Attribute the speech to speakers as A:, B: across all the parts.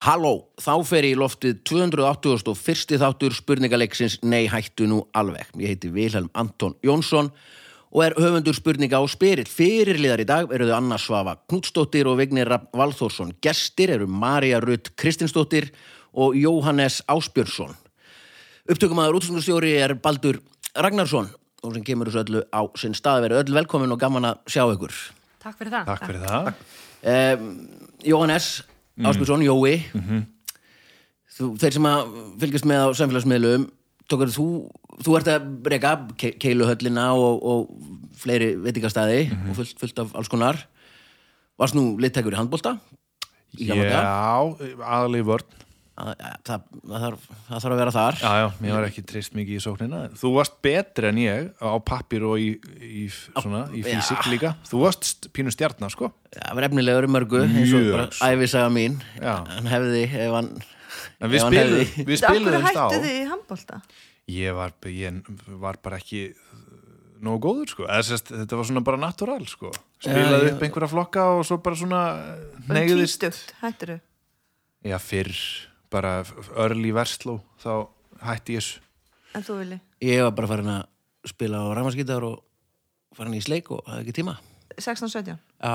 A: Halló, þá fer ég í loftið 281. þáttur spurningaleiksins Nei hættu nú alveg. Ég heiti Vilhelm Anton Jónsson og er höfundur spurninga á spyrill. Fyrirliðar í dag eru þau Anna Svava Knútsdóttir og Vignir Rapp Valþórsson. Gestir eru Marja Rutt Kristinsdóttir og Jóhannes Áspjörnsson. Upptökumæður útsendurstjóri er Baldur Ragnarsson og sem kemur þessu öllu á sinn stað verið öll velkomin og gaman að sjá ykkur.
B: Takk fyrir það.
C: Takk fyrir það.
A: um, Jóhannes
C: Mm.
A: Áspilsson, Jói
C: Mhm.
A: þú, þeir sem að fylgjast með á samfélagsmiðlum tókar þú, þú ert að reyka ke keiluhöllina og, og fleiri veitingastæði
C: Mhm.
A: og fullt, fullt af alls konar varst nú littækur í handbólta í gamla daga?
C: Já, aðalegi vörn.
A: Að- að- það, það, þarf, það þarf að vera þar
C: Já, já, mér var ekki trist mikið í sóknina. Þú varst betri en ég á pappir og í, í, svona, í físik líka. Þú varst st- pínu stjarnar, sko.
A: það var efnilegur í mörgu eins og
C: Mjög
A: bara
C: svo.
A: æfisaga mín
C: Já.
A: hann hefði ef hann,
C: En við
A: ef hann
C: spilum,
A: hefði-
C: við
D: Af hverju
C: spilum á.
D: hættu þið í handbólta?
C: Ég var, ég var bara ekki uh, nógu góður, sko. Eða, sérst, þetta var svona bara natúral, sko. Spilaði upp einhverja flokka og svo bara svona neyðist.
D: Tvítugt, hættur þið?
C: Já, fyrr, bara örl í versló, þá hætti ég þessu.
D: En þú vilji?
A: ég var bara farin að spila á ramaskítar og farin í sleik og hafði ekki tíma
D: 16-17?
A: Já,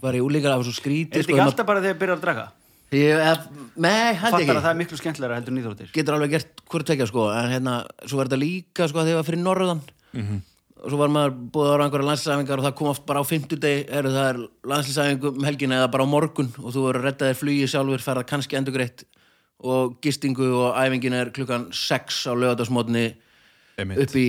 A: var ég úlíkar af svo skríti
E: Er þetta ekki alltaf bara þegar þið byrjar að draka?
A: Ég, eða, nei, held
E: Fattar að það
A: ekki
E: er miklu skemmtilega heldur nýþróttir
A: Getur alveg gert hvort tvekja sko En hérna, svo var þetta líka sko þegar ég var fyrir norðan
E: Mhm.
A: Og svo var maður búið að vera á einhverja landslæfingar Og það kom oft bara á fimmtudegi Eru það er landslæfingu um helgina eða bara á morgun Og þú verður að redda þér flugi sjálfur Ferða kannski endur greitt Og gistingu og æfingin er klukkan 6 á lögadagsmótni
C: Einmitt.
A: Upp í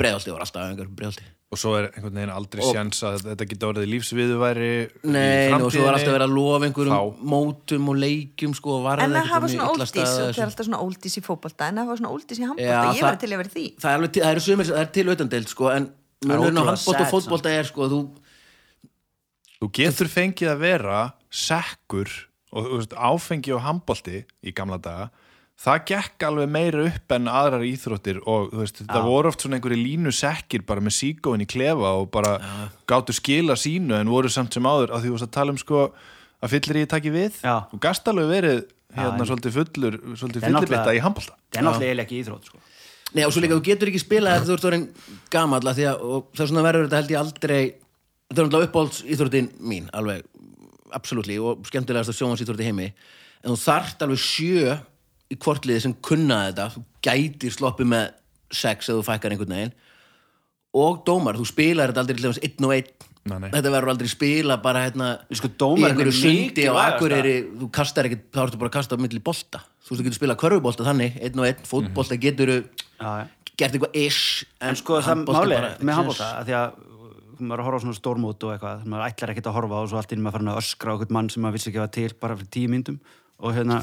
A: breiðalti var alltaf æfingar breiðalti
C: og svo er einhvern veginn aldrei sjans að þetta geta orðið lífsviðuværi
A: Nei, og svo var alltaf verið að lofa
C: Þá.
A: einhverjum mótum og leikjum sko og varða
D: En að
A: einhvern
D: hafa
A: veginn
D: svona
A: í illa
D: oldies,
A: staðið
D: og það
A: þessu.
D: er alltaf svona oldies í fótbolta, en að hafa svona oldies í handbólta,
A: Já,
D: ég
A: það-
D: væri til að vera í því.
A: það er alveg til, það eru sumir, það er til auðandeild sko, en munurinn á
E: ótrúlega
A: handbótt og
E: sad,
A: fótbolta er sko, þú,
C: þú getur fengið að vera sekkur og þú veist, áfengi og handbolti í gamla daga það gekk alveg meira upp en aðrar íþróttir og þú veist, þetta voru oft svona einhverju línu sekkir bara með síkóin í klefa og bara gátu skila sínu en voru samt sem áður að því þú veist að tala um sko að fyllir í taki við
E: Já.
C: og gast alveg verið hérna svolítið fullur svolítið
E: Það er
C: fyllibitta
E: náttúrulega-
C: í handbolta
E: Það er náttúrulega eiginlega ekki íþrótt sko.
A: neða, og svo líka þú getur ekki spilað ef þú ert orðin gamall að því að, og það er svona verður þetta held ég aldrei þetta er alltaf uppáhalds íþróttin mín alveg, absolutlí og skemmtilegast að sjómas íþrótti heimi en þú þarft alveg sjö í kvortliði sem kunna þetta, þú gætir sloppið með sex eða þú fækkar einhvern veginn og dómar, þú spilar þetta aldrei til þess einn og
C: Nei,
A: einn
C: nei.
A: þetta verður aldrei spila bara hérna
E: Sko,
A: í
E: dómarinn er
A: einhverju sundi og
E: mikilvægasta.
A: akureyri þú kastar ekkert, þá ertu bara að kasta á milli bolta þú veist, þú getur spilað körfubolta þannig einn og einn, fótbolta getur
E: Já, já.
A: gert eitthvað ish
E: En sko það
A: handbolta
E: máli er
A: bara-
E: með handbólta að Því að uh, maður er að horfa á svona stórmót og eitthvað Maður ætlar ekkert að horfa á og svo allt inn maður farin að öskra á einhvern mann sem maður vissi ekki að var til bara fyrir tíu myndum Og hérna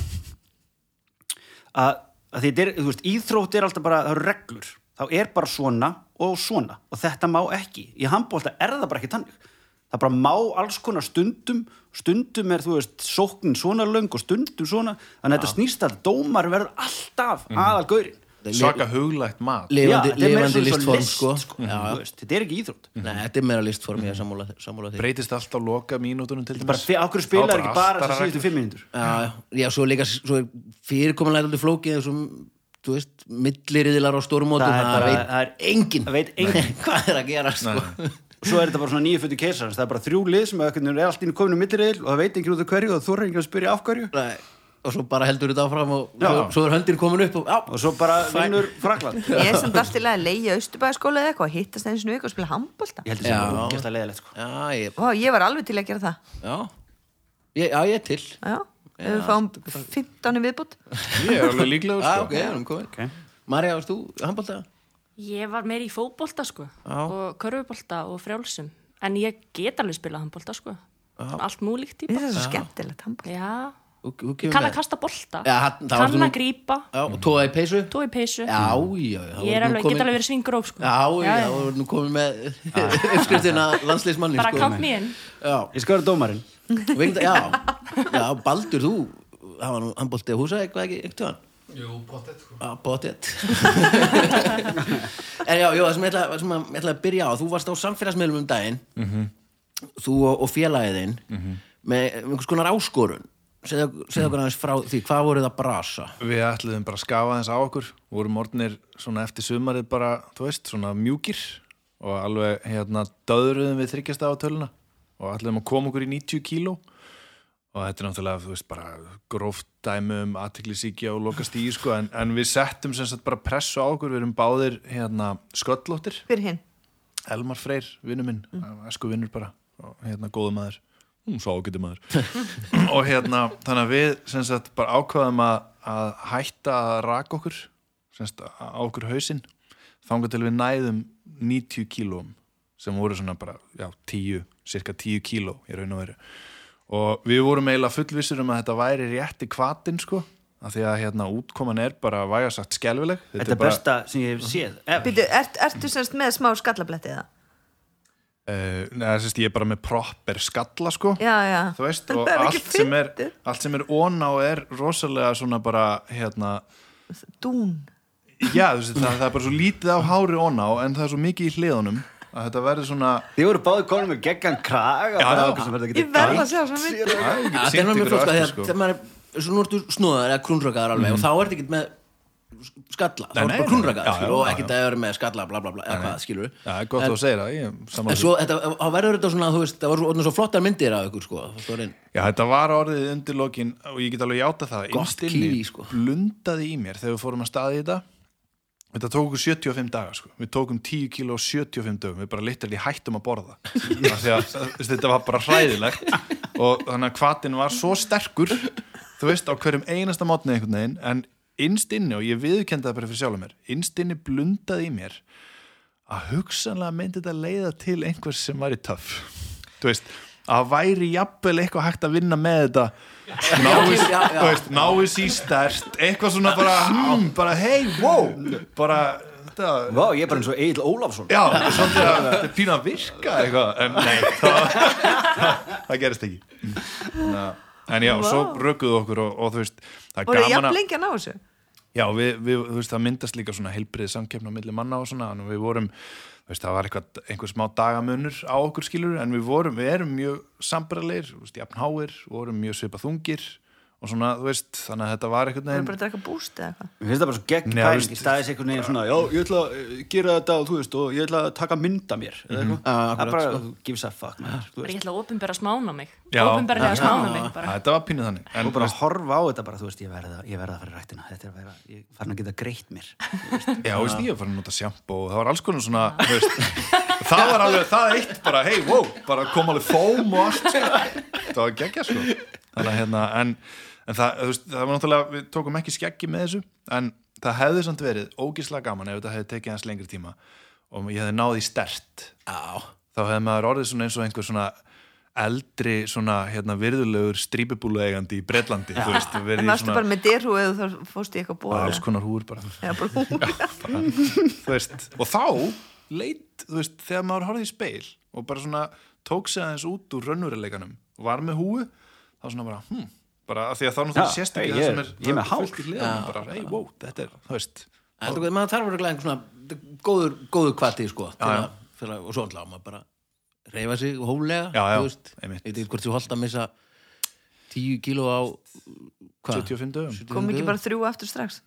E: að, að því þetta er, þú veist, íþrótt er alltaf bara það eru reglur Þá er bara svona og svona Og þetta má ekki Í handbólta er það bara ekki tannig Það bara má alls konar stundum, stundum er, þú veist, sóknin svona löng og stundum svona, þannig að þetta snýst að dómar verður alltaf aðalgaurin.
C: svaka huglægt mat
A: lifandi,
E: Já, þetta er meira
A: lifandi listform
E: svona eins og list, Mhm.
A: sko,
E: þú
A: Já, já.
E: veist, þetta er ekki íþrótt
A: Nei, þetta er meira listform, ég er sammála, sammála því
C: breytist allt á loka mínútunum til
E: bara,
C: dæmis
E: fe- af hverju spilar
C: Þá
E: ekki bara
C: allt
E: þess að
C: reglur.
E: síðustu fimm mínútur
A: já, já, já, svo líka svo er fyrirkomulega alltaf flókið eins og, þú veist, milliriðilar á stórmótum
E: Það er
A: það,
E: bara-
A: veit,
E: það er-
A: enginn
E: það veit enginn.
A: hvað er að gera sko.
E: svo er þetta bara svona nýju fötu keisarans það er bara þrjú lið sem ökkunum er allt inn í kominu millireil og það veit ekki út af hverju og þú er ekki að spyrja af hverju
A: Nei, og svo bara heldur þetta áfram og
C: Já.
A: svo, svo er höndin komin upp og, já,
E: og svo bara
A: Fæ-
E: vinnur Frakland
D: Ég er samt alltaf að leia austurbæðaskóla eða eitthvað, og hittast einu sinni í viku og spila handbólta.
E: ég held að það
A: Já.
E: er ógæslega leiðilegt sko.
A: Já, ég,
D: Vá, ég var alveg til að gera það.
A: já. Ég, já, ég er til
E: Sko.
D: Já, ef við fáum 15 í viðbútt.
C: ég er alveg líklegur
E: Ah,
A: Já,
C: sko.
A: ok, erum komin okay. Marja, varst þú handbólta?
B: Ég var meir í fótbolta sko og körfubolta og frjálsum en ég get alveg spilað handbolta sko. Svona Allt
D: Mér
B: múlíkt típa.
D: finnst það svo skemmtilegt handbólta.
B: Já,
A: Þú- þú
B: ég
A: kemur
B: kann
A: með.
B: að kasta bolta,
A: Já, hann- það varstu
B: kann
A: nú-
B: að grípa,
A: Já, og tóða í peysu?
B: tói peysu.
A: Já, já, já
B: ég er alveg, get alveg verið svingur sko.
A: Já, já, já, og nú komin með uppskriftina landslýsmanni
B: Bara kátt mér inn.
A: Já,
E: ég skal vera dómarinn
A: vegna, já, já, Baldur, þú hann var nú handbólti að húsa eitthvað ekki, eitthvað Jú, pottet Já, pottet En já, já, það sem ég ætla, það sem ég ætla að byrja á þú varst á samfélagsmiðlum um daginn þú og, og félagið þinn með einhvers konar áskorun segðu segðu okkur aðeins frá því, hvað voru það að brasa?
C: Við ætluðum bara að skafa þess á okkur vorum orðnir svona eftir sumarið bara þú veist, svona mjúkir og alveg hérna döðruðum við þryggjast á töluna og ætluðum að koma okkur í 90 kíló og þetta er náttúrulega, þú veist, bara gróft dæmi um aðtiklisíkja og lokast í sko, en, en við settum sem sagt bara pressu á okkur, við erum báðir hérna sköllóttir,
D: Hver hinn?
C: Elmar Freyr vinnu minn, mm. esku vinnur bara og hérna góðu maður, hún sá getur maður og hérna, þannig að við sem sagt bara ákvaðum að, að hætta að raka okkur sem sagt á okkur hausinn þangar til við næðum 90 kílóum sem voru svona bara, já, 10 cirka 10 kíló í raun og veru og við vorum eiginlega fullvissur um að þetta væri rétti kvatin sko af því að hérna útkoman er bara vægasagt skelfileg
E: Þetta er
C: bara-
E: besta sem ég hef séð ever.
D: Býtu, ert, ertu semst með smá skallabletti eða?
C: Uh, neða, sérst, ég er bara með proper skalla sko
D: Já, já.
C: þú veist,
D: Það
C: og
D: er ekki
C: allt sem, er,
D: fyndið.
C: allt sem er ón á er rosalega svona bara hérna,
D: Dún.
C: já, þú veist, það, það er bara svo lítið á hári ón á, en það er svo mikið í hliðunum að þetta verður svona
E: Þið voru báði konum með geggan krag og bara okkur sem verður að
D: Ég
E: geta
D: verð að sjá svona mynd.
C: Æ, ég get
A: Það
C: sýnt
A: er mjög
C: ykkur á
A: flott, sko,
C: eftir, Mhm.
A: þegar þegar maður er svo nú ertu snúðaður eða krúnrakaður alveg og þá ertu ekkert með skalla, þá ertu
C: Nei,
A: bara
C: nei, nei. Já,
A: krúnrakaður skilur,
C: já,
A: og
C: já,
A: ekkert að vera með skalla, bla bla bla, eða hvað, skilur
C: Já, gott að þú segir það, ég er
A: En
C: sammála því.
A: svo, þetta, þá verður þetta svona, þú veist, það voru orðnar svo flottar myndir af ykkur, sko, þú veist,
C: Já, þetta var orðið undir lokin og ég get alveg játa það
A: Gott
C: innst inni
A: kíví, sko.
C: blundaði í mér þegar við fórum að staði þetta þetta tók okkur 75 daga sko. við tókum 10 kíló á 75 dögum við bara litrið hættum að borða Af því að þú veist, þetta var bara hræðilegt og þannig að hvatin var svo sterkur þú veist á hverjum einasta mótni einhvern veginn en innst inni og ég viðurkendi það bara fyrir sjálfum mér innst inni blundaði í mér að hugsanlega myndi þetta leiða til einhvers sem væri töff þú veist, að væri jafnvel eitthvað hægt að vinna með þetta náist,
A: já, já.
C: þú veist, náist í stert eitthvað svona bara, hmm, bara hey, wow bara, þetta
E: Vá, ég er bara eins og Egil Ólafsson
C: já, þetta er svolítið að þetta er pínu að virka eitthvað, en nei það, það, það gerist ekki Na, en já, svo rökuðu okkur og, og þú veist, það er
D: Voru
C: gaman
D: jafn
C: að
D: lengi að ná þessu?
C: Já, við, við, þú veist, það myndast líka svona heilbriðið samkeppna á milli manna og svona, en við vorum þú veist, það var eitthvað, einhver smá dagamunur á okkur skilur, en við vorum, við erum mjög sambarlegir, þú veist, jafnháir vorum mjög svipað þungir og svona, þú veist, þannig að þetta var eitthvað
D: Voru bara
C: neginn
D: að drekka búst eða eitthvað?
E: Mér finnst það bara svo gegn
C: Nei,
E: pæling
C: veist-
E: í staðis einhvern veginn svona, já, ég ætla að eh, gera þetta og þú veist, og ég ætla að taka mynda mér eða eitthvað,
A: Mhm. Já,
E: það er
A: akkurat,
E: bara,
A: sko.
E: þú gives a fuck man, þú
B: Bara
E: veist,
B: ég ætla að opinbera smána mig.
C: Já.
B: Opinberlega smána mig.
C: Að
B: Bara.
C: Þetta var pínuð þannig en,
E: og bara horfa á þetta bara, þú veist, ég verða, ég verða að fara í rættina þetta er að vera, ég farin að geta greitt mér
C: Já, þú veist, ég var farin að nota sjampo og það var alls konar svona, þú veist það var alveg, það eitt bara, hey, wow bara kom alveg fóm og allt sko. það var geggja, sko þannig að hérna, en, en það, þú veist, það var náttúrulega við tókum ekki skeggi með þessu en það hefði samt verið ógislega gaman ef þetta hefði tekið hans lengri tíma og ég hefði náði stert
A: já,
C: þá hefði maður orðið svona eins og einhver svona eldri, svona, hérna, virðulegur strípibúlu eigandi í Bretlandi þú veist, og verið
D: En
C: í
D: varstu bara með derhú eða þá fórstu í eitthvað búið?
C: alls konar húr bara
D: Já, bara hún.
C: Þú veist, og þá leit, þú veist, þegar maður horfði í speil og bara svona tók sig aðeins út úr raunveruleikanum og var með húu þá svona bara, hm, bara að því að þá náttúrulega
E: Já,
C: sést
E: hey,
C: ekki
E: ég
C: það
E: er-
C: sem er,
E: ég er með hár.
C: fullt í hliðan bara, hey, wow, þetta er, þú veist
A: en þú veist, maður þarf að einhvern svona góður, góður kvati, sko, til
C: Já, já.
A: að, til að, og svo alltaf maður bara reyfa sig hóflega,
C: Já, já,
A: þú veist,
C: einmitt.
A: ég veit ekki hvort þú holdt að missa 10 kíló á, hvað?
C: 75 dögum,
D: Kom ekki bara þrjú aftur strax?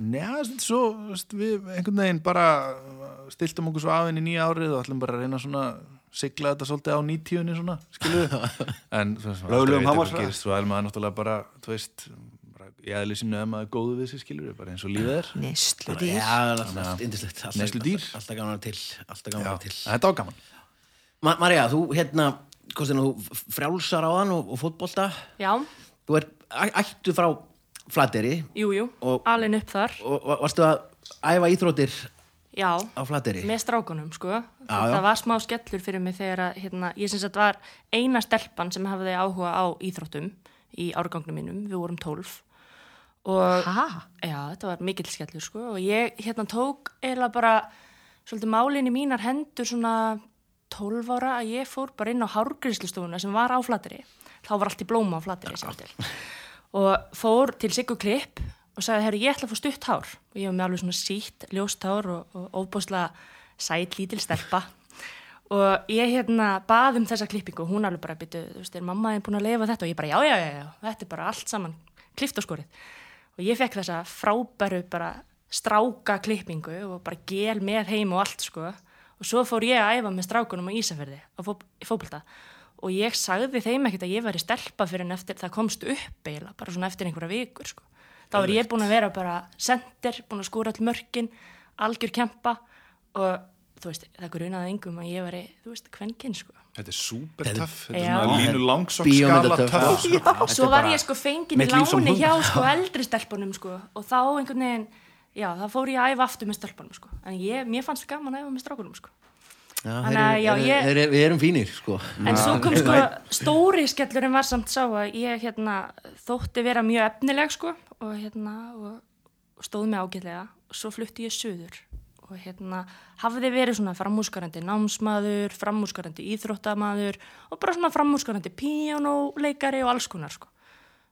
C: neða, þetta er svo þú veist, við einhvern veginn bara stiltum okkur svo af henni nýja árið og ætlum bara að reyna svona sigla þetta svolítið á nýtíunni svona, skilu en þú veist, maður aldrei
E: Löglegum
C: veit hvað
E: hámarkshraða.
C: gerist, svo er maður náttúrulega bara, þú veist bara, ég aðli sínu að maður er góðu við sig skilur bara eins og lífið er
D: Nýstlu
A: Já,
D: dýr.
A: það er alltaf allt indislegt alltaf-
C: Neysludýr.
A: alltaf- Alltaf gaman að til, alltaf gaman
C: Já,
A: að til
C: þetta var gaman
A: Ma Marja, þú hérna kostin, þú frjálsar á hann og, og fótbolta
B: Já,
A: þú er ættu frá flateri
B: jú, jú.
A: Og-
B: Alin upp þar.
A: og va- varstu að æfa íþróttir
B: Já.
A: á flateri
B: með strákunum sko
A: já.
B: það var smá skellur fyrir mig þegar að hérna, ég syns að það var eina stelpan sem hafði áhuga á íþróttum í árgangnum mínum, við vorum tólf og
D: Hæ?
B: já, þetta var mikill skellur sko og ég hérna tók eiginlega bara svolítið málinni mínar hendur svona tólf ára að ég fór bara inn á hárgríslistofuna sem var á flateri þá var allt í blóma á flateri sem til og fór til Siggu Klipp og sagði, herru, ég ætla að fá stutt hár og ég var með alveg svona sítt, ljóst hár og, og óbúslega sæt lítil stelpa og ég hérna bað um þessa klippingu og hún alveg bara byttu, þú veist, er mamma þín búin að leifa þetta og ég bara, já, já, já, já, þetta er bara allt saman klift og skorið og ég fekk þessa frábæru bara stráka klippingu og bara gel með heim og allt sko og svo fór ég að æfa með strákunum á Ísafjörði á fó fótbolta og ég sagði þeim ekkert að ég væri stelpa fyrir en eftir það komst upp eiginlega bara svona eftir einhverja vikur sko. þá var ég búin að vera bara sendir, búin að skúra all mörkin algjör kempa og þú veist, það grunaði engum að ég væri þú veist, kvenkinn sko
C: Þetta er super töff, þetta er
B: Já.
C: svona línu
A: Bíómynda
C: langsokk skala
A: töff.
C: töff sko.
B: og svo
E: er
B: var
E: bara
B: ég sko fengin í
E: mitt líf sem
B: láni
E: hún.
B: hjá sko eldri stelpunum sko og þá einhvern veginn, já, þá fór ég að æfa aftur með stelpunum sko, en ég, mér fannst gaman að æfa með strákunum sko
A: Já,
B: Þannig
A: þeir
B: að,
A: eru-
B: já,
A: eru-
B: ég-
A: þeir eru- Við erum fínir, sko
B: En svo kom sko, stóri skellurinn var samt sá að ég hérna þótti vera mjög efnileg sko og hérna og stóð mig ágætlega og svo flutti ég suður og hérna hafði verið svona framúskarandi námsmaður, framúskarandi íþróttamaður og bara svona framúskarandi píjónuleikari og alls konar sko.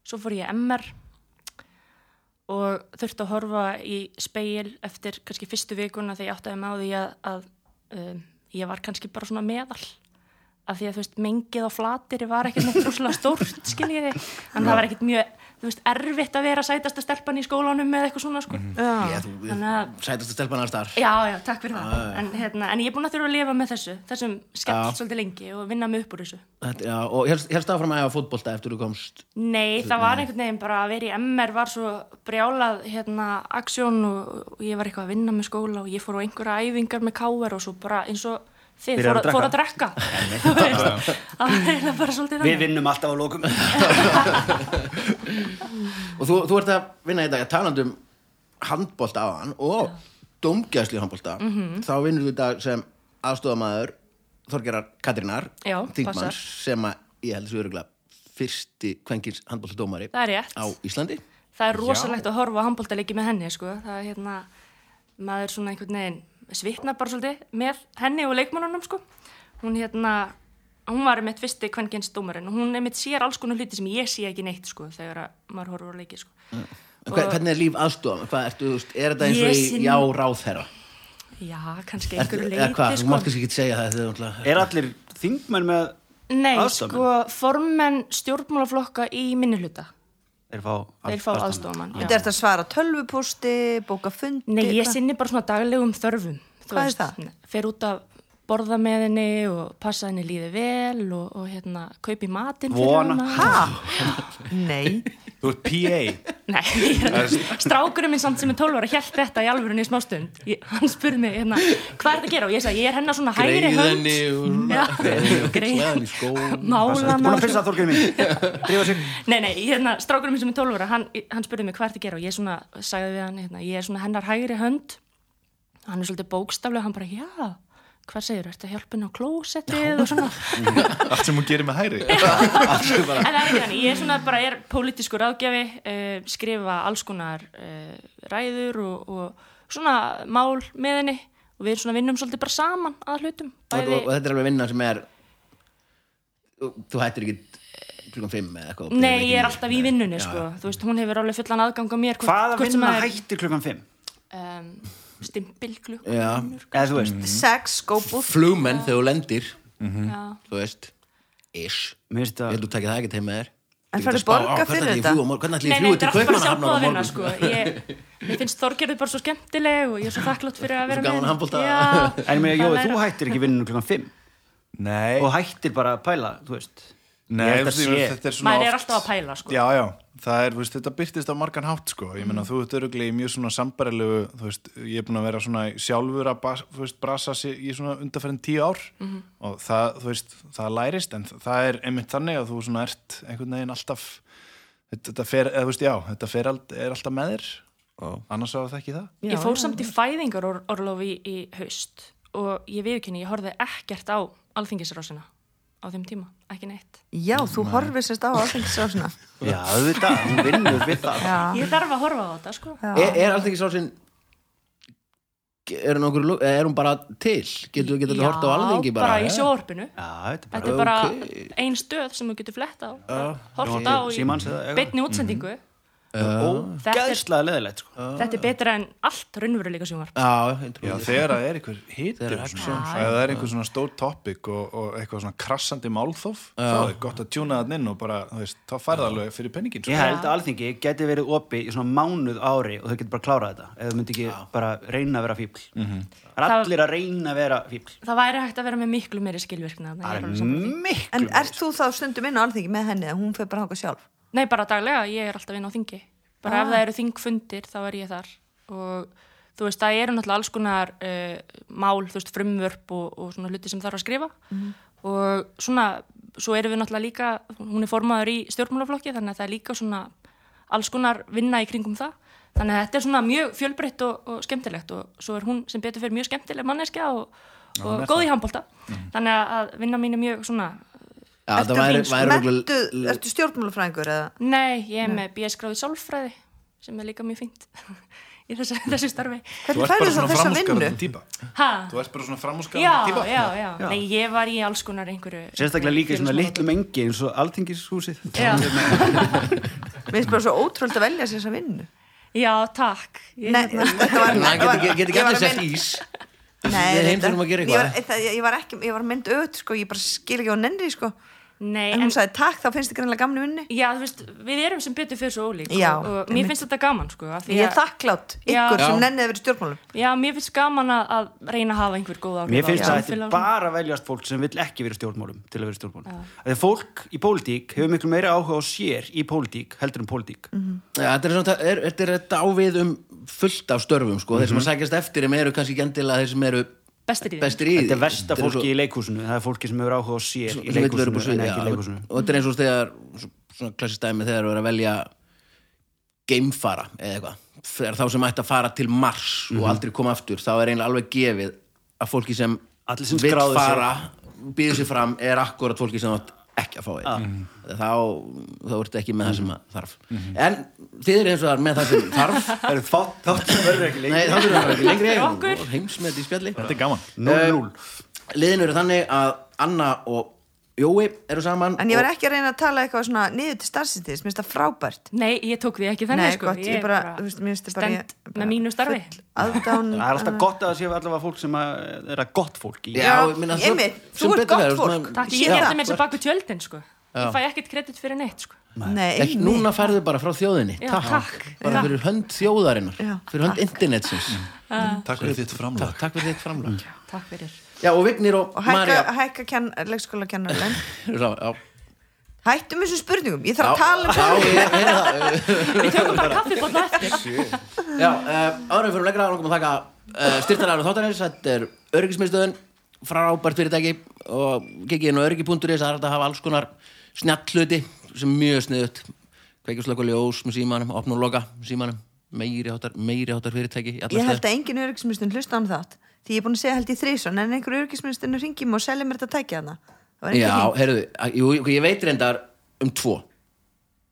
B: Svo fór ég MR og þurfti að horfa í speil eftir kannski fyrstu vikuna þegar ég áttaði með á því að, að um, ég var kannski bara svona meðal af því að þú veist, mengið á flatir var ekkert neitt rúslega stórt, skiljiði en það var ekkert mjög, þú veist, erfitt að vera sætasta stelpan í skólanum eða eitthvað svona sko.
A: Já, þú- við-
B: Þannig að-
A: Sætasta stelpan alls þar
B: já, já, takk fyrir það en, hérna, en ég er búin að þurfa að lifa með þessu þessum skell svolítið lengi og vinna mig upp úr þessu
A: Þetta- já, Og helst helst áfram að hafa fótbolta eftir þú komst
B: Nei, það var einhvern veginn bara að vera í MR var svo brjálað hérna aksjón og, og ég var eitthvað að vinna með skóla og ég fór á einhverja æfingar með káver og svo bara eins og þið
E: Byrjar
B: fór,
E: að
B: að- fór að drekka Þú veist, það var eiginlega bara svolítið
E: Við
B: þannig
E: vinnum alltaf á lókum.
A: Og þú, þú ert að vinna í dag að talandi um handbolta á hann og dómgæslu í handbolta
B: Mhm.
A: þá vinnur þú í dag sem aðstofamaður Þorgerar Katrínar
B: Já, passar.
A: þingmanns sem að ég held þessu öruglega fyrsti kvenkins handboltadómari
B: Það er rétt.
A: á Íslandi
B: Það er rosalegt að horfa á handbóltaleiki með henni, sko. Það er hérna, maður svona einhvern veginn svitnar bara svolítið með henni og leikmannunum, sko. Hún hérna, hún var einmitt fyrsti kvenkins dómarinn og hún einmitt sér alls konar hluti sem ég sé ekki neitt, sko, þegar að maður horfur á leiki, sko.
A: En hver, Hvernig er líf aðstofamaður? Hvað ertu, þú veist, er þetta eins og
B: Ég
A: í
B: sinn-
A: já ráðherra?
B: Já, kannski
A: Ertu-
B: einhverju sko.
A: Eða hvað,
B: leiti,
A: þú mátt kannski ekki segja það þegar þú ætla-
E: Er allir þingmenn með,
B: Nei,
E: Aðstoðarmenn?
B: sko, formenn stjórnmálaflokka í minni hluta.
E: er fá
B: Þeir fá aðstofamann.
D: Þetta er þetta að svara tölvupústi, bóka fundi
B: Nei, ég
D: hvað?
B: sinni bara svona daglegum þörfum. þú
D: Hvað er það?
B: ne- Fer út að borða með henni og passa henni líði vel og, og hérna, kaupi matinn
E: Vona.
D: Ha? Nei
C: Þú ert PA
B: Nei, ég er að- strákurinn minn samt sem er 12 ára held þetta í alvörunni í smástund. Ég, hann spurði mig, hérna, hvað er það að gera? Og ég sagði, ég er hennar svona hægri
A: Greið
B: hönd.
A: henni og-
B: Já,
A: Klæða
B: greið.
A: henni í skó
E: Þetta er búin að
B: Málana.
E: pissa þorginu mín. Drífa sig.
B: Nei, nei, hérna, strákurinn minn sem er 12 ára, hann, hann spurði mig hvað er það að gera og ég svona, sagði við hann, hérna, ég er svona hennar hægri hönd, hann er svolítið bókstaflega, hann bara, já, hvað segir, ertu að hjálpa henni á klósettið og svona,
C: Allt sem hún gerir með hæri
B: en það er ekki þannig, ég er svona bara, er pólitískur ráðgjafi, uh, skrifa alls konar uh, ræður og, og svona mál með henni og við svona vinnum svolítið bara saman að hlutum,
A: og, og,
B: bæði,
A: og þetta er alveg vinna sem er þú hættir ekki klukkan 5 eða eitthvað
B: nei, ég er alltaf í vinnunni, sko, þú veist, hún hefur alveg fullan aðgang á mér,
E: Hvaða
B: sem
E: vinna
B: að er,
E: hættir klukkan 5?
B: um, stimpilklukk,
A: Já.
E: Eða þú
A: Mm.
E: veist,
D: Sex, góðbúð
A: flugmenn þegar þú lendir
B: já.
A: þú veist, ish
E: mér finnst
A: ég
E: það
A: held þú takið það ekki til með þér
D: En
A: Þú
D: færðu
A: getur spáð,
D: borga
A: á, hvernig ætli
D: fyrir
A: ég
D: þetta?
A: fljúgi á morgun? hvernig ætli
B: Nei,
A: ég
B: nei,
A: fljúi
B: þetta
A: til
B: er alltaf bara
A: Kaupmannahafnar á
B: sjálfbóðavinna
A: morgun
B: sko. ég, Mér finnst Þorgerður bara svo skemmtileg og ég er svo þakklátt fyrir að vera
A: gaman að handbolta.
B: Já.
E: En mér, Jói,
B: Það er-
E: þú hættir ekki vinnunum klukkan 5
C: Nei,
E: og hættir bara að pæla, þú veist
C: Nei
E: Ég held að
C: þetta,
E: sé-
C: þetta er svona
B: Maður er
C: oft-
B: alltaf að pæla sko.
C: Já, já, það er, þú veist, þetta byrtist á margan hátt sko, ég meina þú ert öruglega í mjög svona sambarilegu, þú veist, ég er búin að vera svona sjálfur að bas, þú veist, brasa sig í svona undarferðin tíu ár og það, þú veist, það lærist en það er einmitt þannig að þú svona ert einhvern veginn alltaf þetta, þetta fer, eða þú veist, já, þetta fer all, er alltaf með þér og annars á það ekki það
B: Ég fór samt í fæðingarorlofi í, í haust og ég viðkynni, ég horfði ekkert á alþingisrásina á þeim tíma, ekki neitt
D: Já, þú horfir sérst á áfengisrásina
E: Já, auðvitað, hún vinnur við það
D: Já,
B: Ég þarf að horfa á þetta sko
D: já.
A: er, er alltaf ekki sá sem er hún, okkur, lo- eða eh, er hún bara til getur þú getur
B: Já,
A: hort á alþingi bara,
B: í sjóorpinu
E: Já, þetta er bara
B: Þetta er bara
A: Ok.
B: ein stöð sem þú getur flett á
A: Já, Mhm.
B: Hort á í
E: Símans eða eitthvað
B: beinni útsendingu Þetta er-
E: Ógæðslega leðilegt sko.
A: Ah.
B: Þetta er betra en allt raunveruleika sjónvarp.
A: Já, ég trúi
C: Já,
A: því.
C: þegar það er einhver hýttir
A: Þegar það er
C: eða það er einhver svona stór topic og, og eitthvað svona krassandi málþóf þá er gott að tjúna þann inn og bara, þú veist, þá færða alveg fyrir sko. penningin
E: Ég held að alþingi geti verið opi í svona mánuð ári og þau geti bara klárað þetta eða þau myndi ekki bara reyna að vera fíbl
C: Mhm.
E: Það er
B: Það-
E: allir að reyna að vera fíbl
B: Það væri hægt að vera með miklu meiri skilvirkna. þarna, ég
E: Það
B: er
E: er
B: alveg sammála því.
E: miklu
D: En ert þú þá stundum inn á alþingi með henni að hún fer bara hanga sjálf?
B: Nei, bara daglega, ég er alltaf inn á þingi. Bara ef það eru þingfundir, þá er ég þar. Og þú veist, það eru náttúrulega alls konar uh, mál, þú veist, frumvörp og, og svona hluti sem þarf að skrifa. Og svona, svo erum við náttúrulega líka, hún er formaður í stjórnmálaflokki, þannig að það er líka svona alls konar vinna í kringum það. Þannig að þetta er svona mjög fjölbreytt og, og skemmtilegt og svo er hún sem betur fyrir mjög skemmtileg manneskja og, og góð í handbólta. Þannig að- að vinna mín er mjög svona,
A: Já, það
D: Ertu,
A: væri,
D: fín-
A: væri
D: menntuð-
A: örugglega-
D: ertu stjórnmálafræðingur eða?
B: Nei, ég er með BS gráðið sálfræði sem er líka mjög fínt í þessu, þessu
D: Mm.
C: Þú
B: starfi.
D: Hvernig
C: ert bara
D: færðu þá
C: svona
D: þessa vinnu?
C: framúskarandi típa
B: Ha?
C: Þú ert bara svona
B: Já,
C: framúskarandi típa
B: já, já, Nei, ég var í alls konar einhverju.
E: Sérstaklega líka í svona litlu mengi eins og alþingishúsið
B: Já,
D: Mér finnst bara svo ótrúld að velja sér þessa vinnu.
B: já, takk. Ég,
D: Nei, þetta var...
A: Nei,
D: þetta var-
A: get ekki- get ekki
D: ég var
A: allir
D: að
A: sett
D: meina-
A: ís
D: Nei,
A: Við heim
D: reyndar.
A: þurfum að gera
D: Ég
A: eitthvað.
D: var- það- Ég var ekki, ég var mynd öð, sko, ég bara skil ekki á nenni, sko.
B: Nei,
D: En hún sagði takk, þá finnst þið greinlega gamni vinni.
B: já, þú veist, við erum sem betur fyrir svo ólík. sko,
D: Já,
B: Og, og mér finnst þetta gaman, sko. af því
D: Ég er
B: að-
D: þakklátt
B: Já.
D: ykkur sem
A: Já.
D: nennið að vera í stjórnmálum.
B: Já, mér finnst gaman að, að reyna að hafa einhver góð áhrif.
E: Mér finnst
B: á
E: að þetta er
B: samfélag.
E: bara að veljast fólk sem vill ekki vera í stjórnmálum til að vera í stjórnmálum. Þegar fólk í pólitík hefur miklu meira áhuga á sér í pólitík heldur en pólitík.
A: Já, Þetta er, svona, það er, þetta er þetta ávið um fullt af störfum sko.
E: Mhm.
A: Þeir sem að sækjast eftir þeim eru kannski gendilega þeir sem eru
B: Bestir í því.
A: bestir í því
E: Þetta er versta
A: Þetta er
E: fólki í leikúsinu. Það er fólki sem hefur áhuga á sér
A: svo- sem vill
E: í
A: vera upp á
E: leikúsinu en
A: sviði,
E: ekki í
A: já.
E: leikúsinu.
A: Og þetta er eins og þegar svo- svona klassistæmi þegar þú er að velja geimfara eða eitthvað þegar þá sem ætti að fara til Mars
E: Mhm.
A: og aldrei koma aftur, þá er eiginlega alveg gefið að fólki sem
E: Allir sem
A: vill
E: skráðu sig.
A: fara býður sér fram er akkurat fólki sem átt ekki að fá þetta þá, þá ertu ekki með það sem að þarf en þið eru eins og það með það sem þarf
E: Það eru fátt, þátt sem verður ekki
A: Nei,
E: leikúsinu.
A: þá þurfum við ekki lengri
B: Fyrir okkur.
A: Heimsmet í spjalli Um,
C: Þetta er gaman
E: Núl,
A: Ehm, Liðin eru þannig að Anna og Jói eru saman
D: En ég var ekki að reyna að tala eitthvað svona niður til starfsýttis, mér finnst það frábært.
B: Nei, ég tók því ekki þannig,
D: Nei,
B: sko.
D: gott, ég bara- þú veist, mér finnst þetta bara-
B: stend
D: ég- bara
B: með mínu starfi.
D: Aðdán,
E: það er alltaf gott að það séu allavega fólk sem að, er að gott fólk í.
A: Já,
D: Já,
A: ég meina, svo-
D: einmitt, þú
A: sem
D: ert
A: betur
D: gott
A: fer, þú veist,
D: fólk.
A: maður-
B: Takk,
A: Já.
B: ég held að mér sem baku tjöldin, sko. Ég fæ ekkert kredit fyrir neitt, sko.
D: Nei,
A: Ekki,
D: einmitt.
A: Núna færðu bara frá þjóðinni
B: Já,
A: Takk,
B: takk.
A: Bara
D: Já.
A: fyrir hönd þjóðarinnar
D: Já,
A: Fyrir hönd internetsins
C: Takk fyrir þitt
A: takk,
C: framlag
A: takk fyrir þitt framlag
B: Takk fyrir.
A: Já, og Vignir og,
D: Og hækka,
A: Marja
D: hækka kenn, leikskóla kennarlegin.
A: eru saman, Já,
D: Hættum þessum spurningum, ég
A: Já.
D: þarf að tala um
A: já,
D: það.
A: ég, ég, það,
B: Við tökum bara kaffibólla eftir.
A: já uh, Árum fyrir lengra langum að þakka uh, styrtaræður þáttanins Þetta er öryggismiðstöðun frábært fyrirtæki og kikið inn á öryggi.is það er hægt að hafa alls konar snjalluti sem er mjög sniðut kveikjuslöku ljós með símanum, opn og loka með símanum, meiri hátar, meiri hátar fyrirtæki í alla
D: Ég
A: staði.
D: held að engin öryggisministun hlusta án það. Því ég er búin að segja held ég þrísun, en einhver öryggisministun ringi mig og selja mér þetta tækja hana. Það var
A: Já,
D: engin hring.
A: heyrðu, að- jú, jú, ég veit reyndar um tvo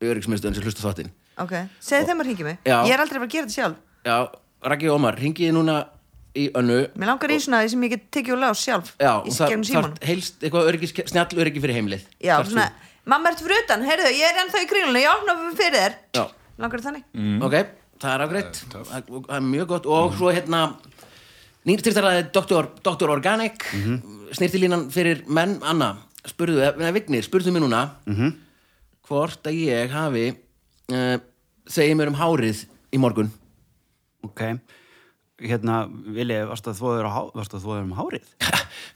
A: öryggismiðstöðun sem hlusta á þáttinn
D: Ok, segðu þeim að ringi mig.
A: Já.
D: Ég er aldrei að fara að gera þetta sjálf.
A: Já, Raggi og Ómar, ringiði núna í önnu
D: Mér langar í svona því sem ég get tekið og lás sjálf.
A: Já, og
D: Í
A: það
D: gegnum símanum.
A: þarf helst eitthvað öryggis, snjall öryggi fyrir heimlið
D: Já,
A: Þarft þú.
D: svona, mamma ertu fyrir utan, heyrðu, ég er ennþá í kringlunni, ég opna fyrir þér.
A: Já.
D: Langar þér þannig?
A: ok, það er afgreitt Mm. það það er mjög gott og svo hérna nýr styrtaræði Dr. Dr. Organic Mhm. snirtilínan fyrir menn Anna, spurðu, eða Vignir spurðu mér núna hvort að ég hafi uh, segið mér um hárið í morgun
E: Ok, hérna, Vilja, varstu að þvoður um hárið?